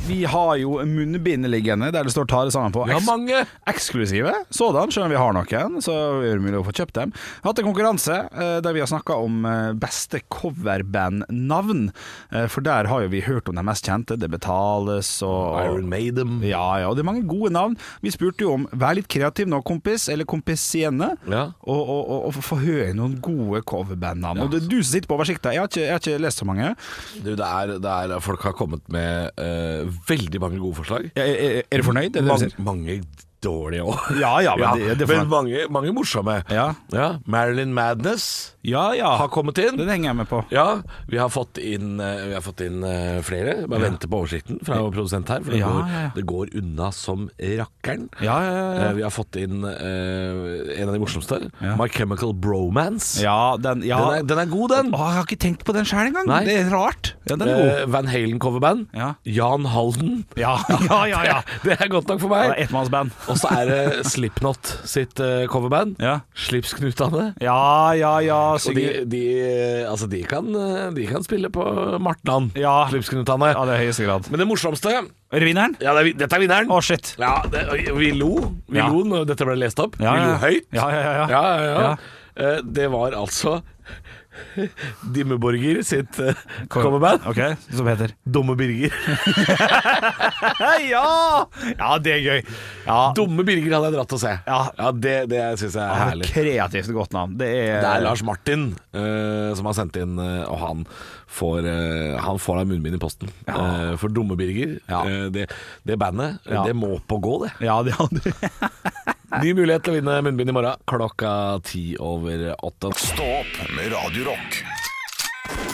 [SPEAKER 4] Vi har jo munnbind liggende der det står 'ta det sammen' på.
[SPEAKER 3] Ja, mange.
[SPEAKER 4] eksklusive sådan, selv om vi har noen, så er det mulig å få kjøpt dem. Vi har hatt en konkurranse eh, der vi har snakka om eh, beste coverband-navn. Eh, For der har jo vi hørt om de mest kjente. Det betales og
[SPEAKER 3] Iron Maiden.
[SPEAKER 4] Ja, ja, og det er mange gode navn. Vi spurte jo om 'vær litt kreativ nå, kompis', eller 'kompisiene'.
[SPEAKER 3] Ja.
[SPEAKER 4] Og, og, og, og få høre noen gode coverband-navn. Og det er du som sitter på oversikta. Jeg, har ikke- jeg har ikke lest så mange.
[SPEAKER 3] Du, det er, det er Folk har kommet med eh, veldig mange gode forslag.
[SPEAKER 4] Er, er, er du fornøyd? Er det det du
[SPEAKER 3] Mange,
[SPEAKER 4] sier?
[SPEAKER 3] mange dårlige òg.
[SPEAKER 4] Ja, ja, men det- det får-
[SPEAKER 3] men mange, mange morsomme.
[SPEAKER 4] Ja. Ah.
[SPEAKER 3] Marilyn Madness
[SPEAKER 4] Ja ja.
[SPEAKER 3] har kommet inn.
[SPEAKER 4] Den henger jeg med på.
[SPEAKER 3] Ja, vi har fått inn, eh, vi har fått inn eh, flere. Bare venter på oversikten fra vår produsent her, for det,
[SPEAKER 4] Ja,
[SPEAKER 3] går,
[SPEAKER 4] ja, ja.
[SPEAKER 3] det går unna som rakkeren.
[SPEAKER 4] Ja, ja, ja, ja.
[SPEAKER 3] Eh, Vi har fått inn eh, en av de morsomste.
[SPEAKER 4] Ja.
[SPEAKER 3] My Chemical Bromance.
[SPEAKER 4] Ja, den, ja.
[SPEAKER 3] Den, er, den er god, den.
[SPEAKER 4] Å, jeg har ikke tenkt på den sjøl engang.
[SPEAKER 3] Nei.
[SPEAKER 4] Det er rart. Ja, den er god.
[SPEAKER 3] Eh, Van Halen coverband.
[SPEAKER 4] Ja.
[SPEAKER 3] Jan Halden.
[SPEAKER 4] Ja, ja, ja. ja.
[SPEAKER 3] Det er godt nok for
[SPEAKER 4] Det
[SPEAKER 3] meg.
[SPEAKER 4] er Ettmannsband.
[SPEAKER 3] Og så er det Slipknot sitt eh, coverband.
[SPEAKER 4] Ja.
[SPEAKER 3] Slipsknutane.
[SPEAKER 4] Ja, ja, ja.
[SPEAKER 3] Og de,
[SPEAKER 4] Synger
[SPEAKER 3] de, altså de, kan, eh, de kan spille på Martland.
[SPEAKER 4] Ja.
[SPEAKER 3] Slipsknutane.
[SPEAKER 4] Ja, det er høyeste grad.
[SPEAKER 3] Men det morsomste
[SPEAKER 4] Er det vinneren?
[SPEAKER 3] ja, det er, vi- Dette er vinneren.
[SPEAKER 4] Å, shit.
[SPEAKER 3] Ja, det, og vi lo. Vi
[SPEAKER 4] Ja.
[SPEAKER 3] lo når dette ble lest opp.
[SPEAKER 4] Ja,
[SPEAKER 3] vi
[SPEAKER 4] ja.
[SPEAKER 3] lo høyt.
[SPEAKER 4] Ja, ja, ja, ja.
[SPEAKER 3] ja, ja, ja.
[SPEAKER 4] Ja.
[SPEAKER 3] Eh, Det var altså Dimmeborger sitt eh, coverband.
[SPEAKER 4] Ok, Som heter
[SPEAKER 3] Dumme Birger.
[SPEAKER 4] Ja! Ja, det er gøy. Ja,
[SPEAKER 3] Dumme Birger hadde jeg dratt til å se.
[SPEAKER 4] Ja.
[SPEAKER 3] Det, det syns jeg er
[SPEAKER 4] det er
[SPEAKER 3] herlig.
[SPEAKER 4] kreativt godt navn. Det er,
[SPEAKER 3] Det er Lars Martin eh, som har sendt inn, eh, og han får, eh, han får deg munnbind i posten. Eh, for dumme Birger,
[SPEAKER 4] Ja.
[SPEAKER 3] eh, det, det bandet,
[SPEAKER 4] Ja.
[SPEAKER 3] det må pågå, det.
[SPEAKER 4] Ja, det er det.
[SPEAKER 3] Ny mulighet til å vinne munnbind i morgen klokka ti over åtte.
[SPEAKER 1] Stå opp med Radio Rock.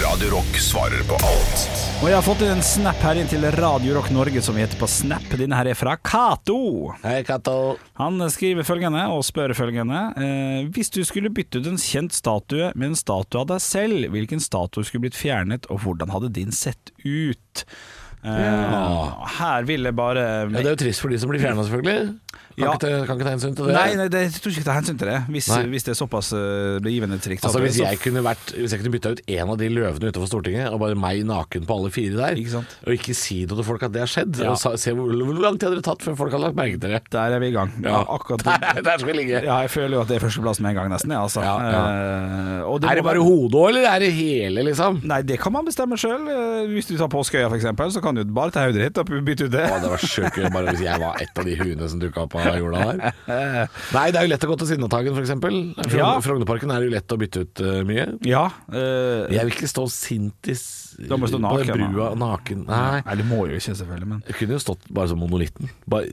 [SPEAKER 1] Radio Rock svarer på alt.
[SPEAKER 4] Og jeg har fått en snap her inn til Radio Rock Norge, som vi heter på Snap. Denne her er fra Cato.
[SPEAKER 3] Hei, Kato.
[SPEAKER 4] Han skriver følgende og spør følgende eh, Hvis du skulle bytte ut en kjent statue med en statue av deg selv, hvilken statue skulle blitt fjernet, og hvordan hadde din sett ut? Eh, Her vil jeg bare
[SPEAKER 3] Ja, det er jo trist for de som blir fjerna, selvfølgelig. Kan,
[SPEAKER 4] Ja.
[SPEAKER 3] ikke, ta- kan ikke ta hensyn til det.
[SPEAKER 4] Nei, nei det, jeg tror ikke det er hensyn til det, hvis,
[SPEAKER 3] Nei.
[SPEAKER 4] hvis det er såpass eh, begivenhetsrikt.
[SPEAKER 3] Altså, hvis
[SPEAKER 4] Så-
[SPEAKER 3] jeg, kunne vært, hvis jeg kunne bytta ut en av de løvene utenfor Stortinget, og bare meg naken på alle fire der,
[SPEAKER 4] Ikke sant?
[SPEAKER 3] og ikke si noe til folk at det har skjedd,
[SPEAKER 4] Ja.
[SPEAKER 3] og sa- se hvor, hvor lang tid hadde det tatt før folk hadde lagt merke til det?
[SPEAKER 4] Der er vi i gang. Ja, akkurat
[SPEAKER 3] Der, der skal vi ligge.
[SPEAKER 4] Ja, jeg føler jo at det er førsteplass med en gang, nesten. Ja, altså.
[SPEAKER 3] Ja,
[SPEAKER 4] Eh, og
[SPEAKER 3] Er det
[SPEAKER 4] må
[SPEAKER 3] bare
[SPEAKER 4] være-
[SPEAKER 3] hodet òg, eller er det hele, liksom?
[SPEAKER 4] Nei, det kan man bestemme sjøl. Hvis du tar Påskeøya, for eksempel, så kan du bare ta hodet ditt og bytte ut det.
[SPEAKER 3] Å, det var sjukt gøy bare hvis jeg var et av de huene som dukka opp av jorda der. Nei, det er jo lett å gå til Sinnataggen, f.eks. Frogn
[SPEAKER 4] Ja.
[SPEAKER 3] Frognerparken er det jo lett å bytte ut eh, mye.
[SPEAKER 4] Ja. eh,
[SPEAKER 3] Jeg vil ikke stå sint i s-
[SPEAKER 4] Da må du stå
[SPEAKER 3] på den
[SPEAKER 4] naken, da.
[SPEAKER 3] brua naken. Nei.
[SPEAKER 4] Nei, det må jo ikke, selvfølgelig, men
[SPEAKER 3] Jeg kunne jo stått bare som monolitten. Bare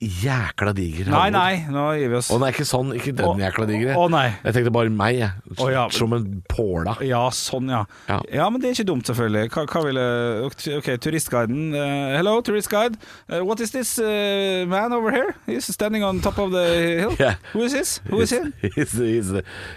[SPEAKER 3] jækla diger.
[SPEAKER 4] Nei,
[SPEAKER 3] Halvor.
[SPEAKER 4] nei, nå gir vi oss.
[SPEAKER 3] Å nei, ikke sånn. Ikke
[SPEAKER 4] Å,
[SPEAKER 3] den jækla digre.
[SPEAKER 4] å, nei.
[SPEAKER 3] Jeg tenkte bare meg, jeg.
[SPEAKER 4] Å, ja.
[SPEAKER 3] Som en påla.
[SPEAKER 4] Ja, sånn, ja. ja.
[SPEAKER 3] Ja.
[SPEAKER 4] men det er ikke dumt, selvfølgelig. Hva, hva ville Ok, turistguiden. eh, hello, turistguide. Eh, what is this eh, man over here? He's standing on top of the hill.
[SPEAKER 3] Yeah.
[SPEAKER 4] Who is this? Who is he?
[SPEAKER 3] He's, he's,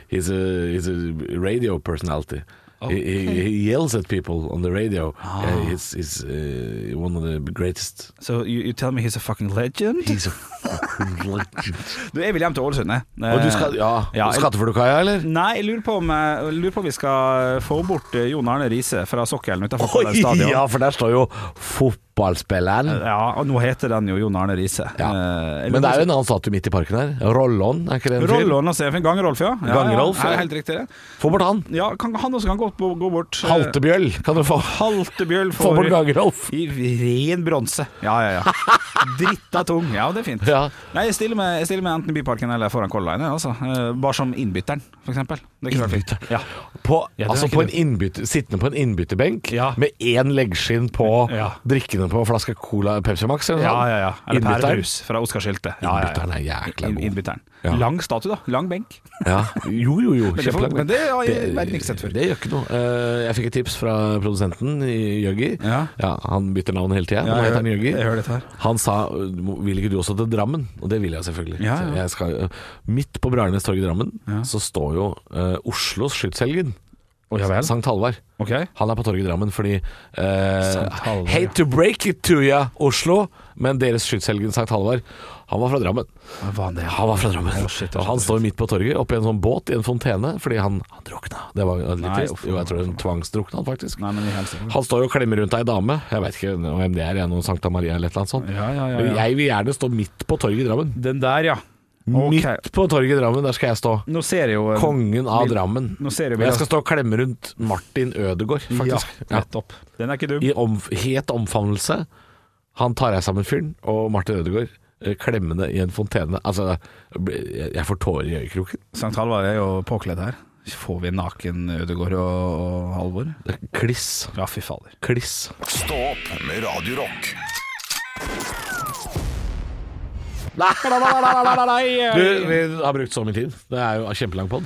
[SPEAKER 3] he's, a, he's a radio personality.
[SPEAKER 4] Oh,
[SPEAKER 3] He, he, he yells at people on the radio.
[SPEAKER 4] Ah.
[SPEAKER 3] Yeah, he's he's uh, one of the greatest.
[SPEAKER 4] So you, you tell me he's a fucking legend?
[SPEAKER 3] He's a fucking legend.
[SPEAKER 4] Du, jeg vil hjem til Ålesund, jeg.
[SPEAKER 3] Og du skal, ja,
[SPEAKER 4] Eh, Ja,
[SPEAKER 3] du skal til Kaja, eller?
[SPEAKER 4] Nei, jeg lurer på om, eh, jeg lurer på om vi skal få bort eh, Jon Arne Riise fra sokkelen utenfor Color Stadion.
[SPEAKER 3] ja, for der står jo fotballspilleren.
[SPEAKER 4] Ja, og nå heter den jo Jon Arne Riise.
[SPEAKER 3] Ja.
[SPEAKER 4] Eh, jeg
[SPEAKER 3] Men det
[SPEAKER 4] lurer
[SPEAKER 3] er jo en annen statue midt i parken her. Rollon, er ikke det en
[SPEAKER 4] på-
[SPEAKER 3] fyr?
[SPEAKER 4] Rollon og Sefen. Gangerolf, ja. ja,
[SPEAKER 3] Gangerolf,
[SPEAKER 4] ja.
[SPEAKER 3] ja.
[SPEAKER 4] Er Helt riktig. det.
[SPEAKER 3] Få bort han.
[SPEAKER 4] Ja, kan, han også kan gå, på- gå bort. eh,
[SPEAKER 3] Haltebjøll kan du få.
[SPEAKER 4] Haltebjøll
[SPEAKER 3] Få
[SPEAKER 4] for
[SPEAKER 3] bort Gangerolf.
[SPEAKER 4] i ren bronse. Ja, ja, ja. Dritta tung. Ja, det er fint.
[SPEAKER 3] Ja.
[SPEAKER 4] Nei, jeg stiller, med, jeg stiller med enten Byparken eller foran Color Line. jeg, Altså. Eh, Bare som innbytteren, f.eks.
[SPEAKER 3] Innbytter.
[SPEAKER 4] Ja.
[SPEAKER 3] På,
[SPEAKER 4] Ja, det er
[SPEAKER 3] altså
[SPEAKER 4] ikke
[SPEAKER 3] på en
[SPEAKER 4] det.
[SPEAKER 3] innbytte, sittende på en innbytterbenk
[SPEAKER 4] Ja.
[SPEAKER 3] med én leggskinn på
[SPEAKER 4] Ja.
[SPEAKER 3] drikkende på en flaske cola Pepsi Max. Eller noe
[SPEAKER 4] Ja,
[SPEAKER 3] sånt.
[SPEAKER 4] ja, ja. Eller
[SPEAKER 3] Innbytteren.
[SPEAKER 4] pærebrus fra Oscar-skiltet. Ja, ja,
[SPEAKER 3] Innbytteren er jækla god.
[SPEAKER 4] Innbytteren.
[SPEAKER 3] Ja.
[SPEAKER 4] Lang statue, da. Lang benk.
[SPEAKER 3] Ja. Jo, jo, jo.
[SPEAKER 4] det får-
[SPEAKER 3] Kjempelangt.
[SPEAKER 4] men det har jeg verden ikke sett før.
[SPEAKER 3] Det gjør ikke noe. Eh, Jeg fikk et tips fra produsenten i Jøggi.
[SPEAKER 4] Ja.
[SPEAKER 3] han bytter navn hele tida.
[SPEAKER 4] Ja,
[SPEAKER 3] Nå
[SPEAKER 4] jeg
[SPEAKER 3] heter han
[SPEAKER 4] hører-
[SPEAKER 3] Jøggi.
[SPEAKER 4] jeg hører dette her.
[SPEAKER 3] Han sa vil ikke du også til Drammen? Og det vil jeg selvfølgelig.
[SPEAKER 4] Ja,
[SPEAKER 3] Så
[SPEAKER 4] ja.
[SPEAKER 3] Jeg skal, midt på Bragernes torg i Drammen så står jo eh, Oslos skytshelgen.
[SPEAKER 4] Å, ja vel.
[SPEAKER 3] Sankt Halvard.
[SPEAKER 4] Ok.
[SPEAKER 3] Han er på torget i Drammen fordi eh,
[SPEAKER 4] Sankt Halvard, ja.
[SPEAKER 3] Hate to break it to ya, Oslo, men deres skytshelgen Sankt Halvard Han var fra Drammen.
[SPEAKER 4] Hva var det?
[SPEAKER 3] Han var fra Drammen.
[SPEAKER 4] Å, Oh, shit,
[SPEAKER 3] og han står midt på torget oppi en sånn båt i en fontene fordi han, han drukna. Det var litt
[SPEAKER 4] Nei,
[SPEAKER 3] trist.
[SPEAKER 4] uff,
[SPEAKER 3] Jo, jeg tror han tvangsdrukna, han faktisk.
[SPEAKER 4] Nei, men i helsike.
[SPEAKER 3] Han står jo og klemmer rundt ei dame. Jeg vet ikke hvem det er, jeg, noen Sankta Maria eller et eller annet sånt.
[SPEAKER 4] Ja, ja, ja,
[SPEAKER 3] Men
[SPEAKER 4] ja.
[SPEAKER 3] Jeg vil gjerne stå midt på torget i Drammen.
[SPEAKER 4] Den der, ja. Ok.
[SPEAKER 3] Midt på torget i Drammen, der skal jeg stå.
[SPEAKER 4] Nå ser jeg jo eh,
[SPEAKER 3] Kongen av
[SPEAKER 4] bil-
[SPEAKER 3] Drammen.
[SPEAKER 4] Nå ser
[SPEAKER 3] Og
[SPEAKER 4] jeg
[SPEAKER 3] jeg
[SPEAKER 4] bildet.
[SPEAKER 3] skal stå og klemme rundt Martin Ødegaard, faktisk.
[SPEAKER 4] Ja, nettopp. Den er ikke dum.
[SPEAKER 3] I om, het omfavnelse. Han tar jeg sammen fyren og Martin Ødegaard eh, klemmende i en fontene. Altså, jeg jeg får tårer i øyekroken.
[SPEAKER 4] Sankt Halvard er jo påkledd her. Får vi naken Ødegaard og, og Halvor?
[SPEAKER 3] Det er Kliss.
[SPEAKER 4] Ja, fy fader.
[SPEAKER 3] Kliss.
[SPEAKER 1] Stå opp med Radio Rock.
[SPEAKER 3] Du, vi har brukt så mye tid. Det er jo en kjempelang pod.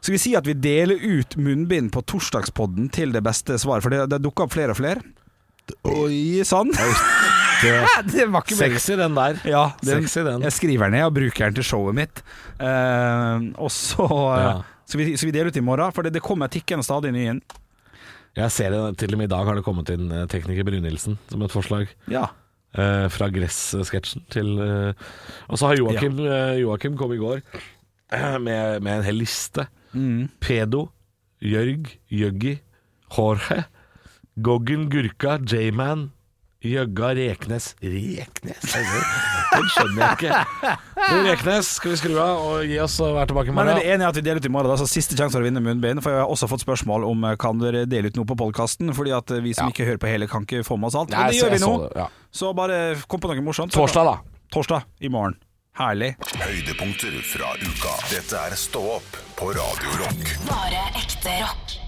[SPEAKER 4] Skal vi si at vi deler ut munnbind på torsdagspodden til det beste svar? For det, det dukker opp flere og flere. Oi sann! Det var ikke meningen.
[SPEAKER 3] Sexy, den der.
[SPEAKER 4] Ja, den,
[SPEAKER 3] Sexy, den.
[SPEAKER 4] jeg skriver den ned og bruker den til showet mitt. Eh, og så eh,
[SPEAKER 3] Ja.
[SPEAKER 4] skal, vi, skal vi dele ut i morgen, for det, det kommer tikkende stadig nye inn.
[SPEAKER 3] Jeg ser det til og med i dag har det kommet inn eh, tekniker Brynildsen som et forslag.
[SPEAKER 4] Ja.
[SPEAKER 3] Eh, fra Gress-sketsjen til eh, Og så har Joakim, eh, Joakim kom i går eh, med, med en hel liste. Pedo, Jørg, Jøggi, Jorge, Goggen, Gurka, J-Man, Jøgga, Reknes Reknes? Den skjønner jeg ikke. Du, Reknes, skal vi skru av og gi oss og være tilbake i
[SPEAKER 4] Men er
[SPEAKER 3] morgen?
[SPEAKER 4] dere enige i at vi deler ut i morgen? Da, så siste sjanse for å vinne munnbind. For jeg har også fått spørsmål om eh, Kan dere dele ut noe på podkasten. Fordi at eh, vi som
[SPEAKER 3] Ja.
[SPEAKER 4] ikke hører på hele, kan ikke få med oss alt.
[SPEAKER 3] Nei,
[SPEAKER 4] Men det
[SPEAKER 3] så
[SPEAKER 4] gjør
[SPEAKER 3] jeg
[SPEAKER 4] vi nå.
[SPEAKER 3] så det, ja.
[SPEAKER 4] Så bare eh, kom på noe morsomt. Så-
[SPEAKER 3] Torsdag, da.
[SPEAKER 4] Torsdag i morgen. Herlig.
[SPEAKER 1] Høydepunkter fra uka. Dette er Stå opp på Radio Rock.
[SPEAKER 2] Bare ekte rock.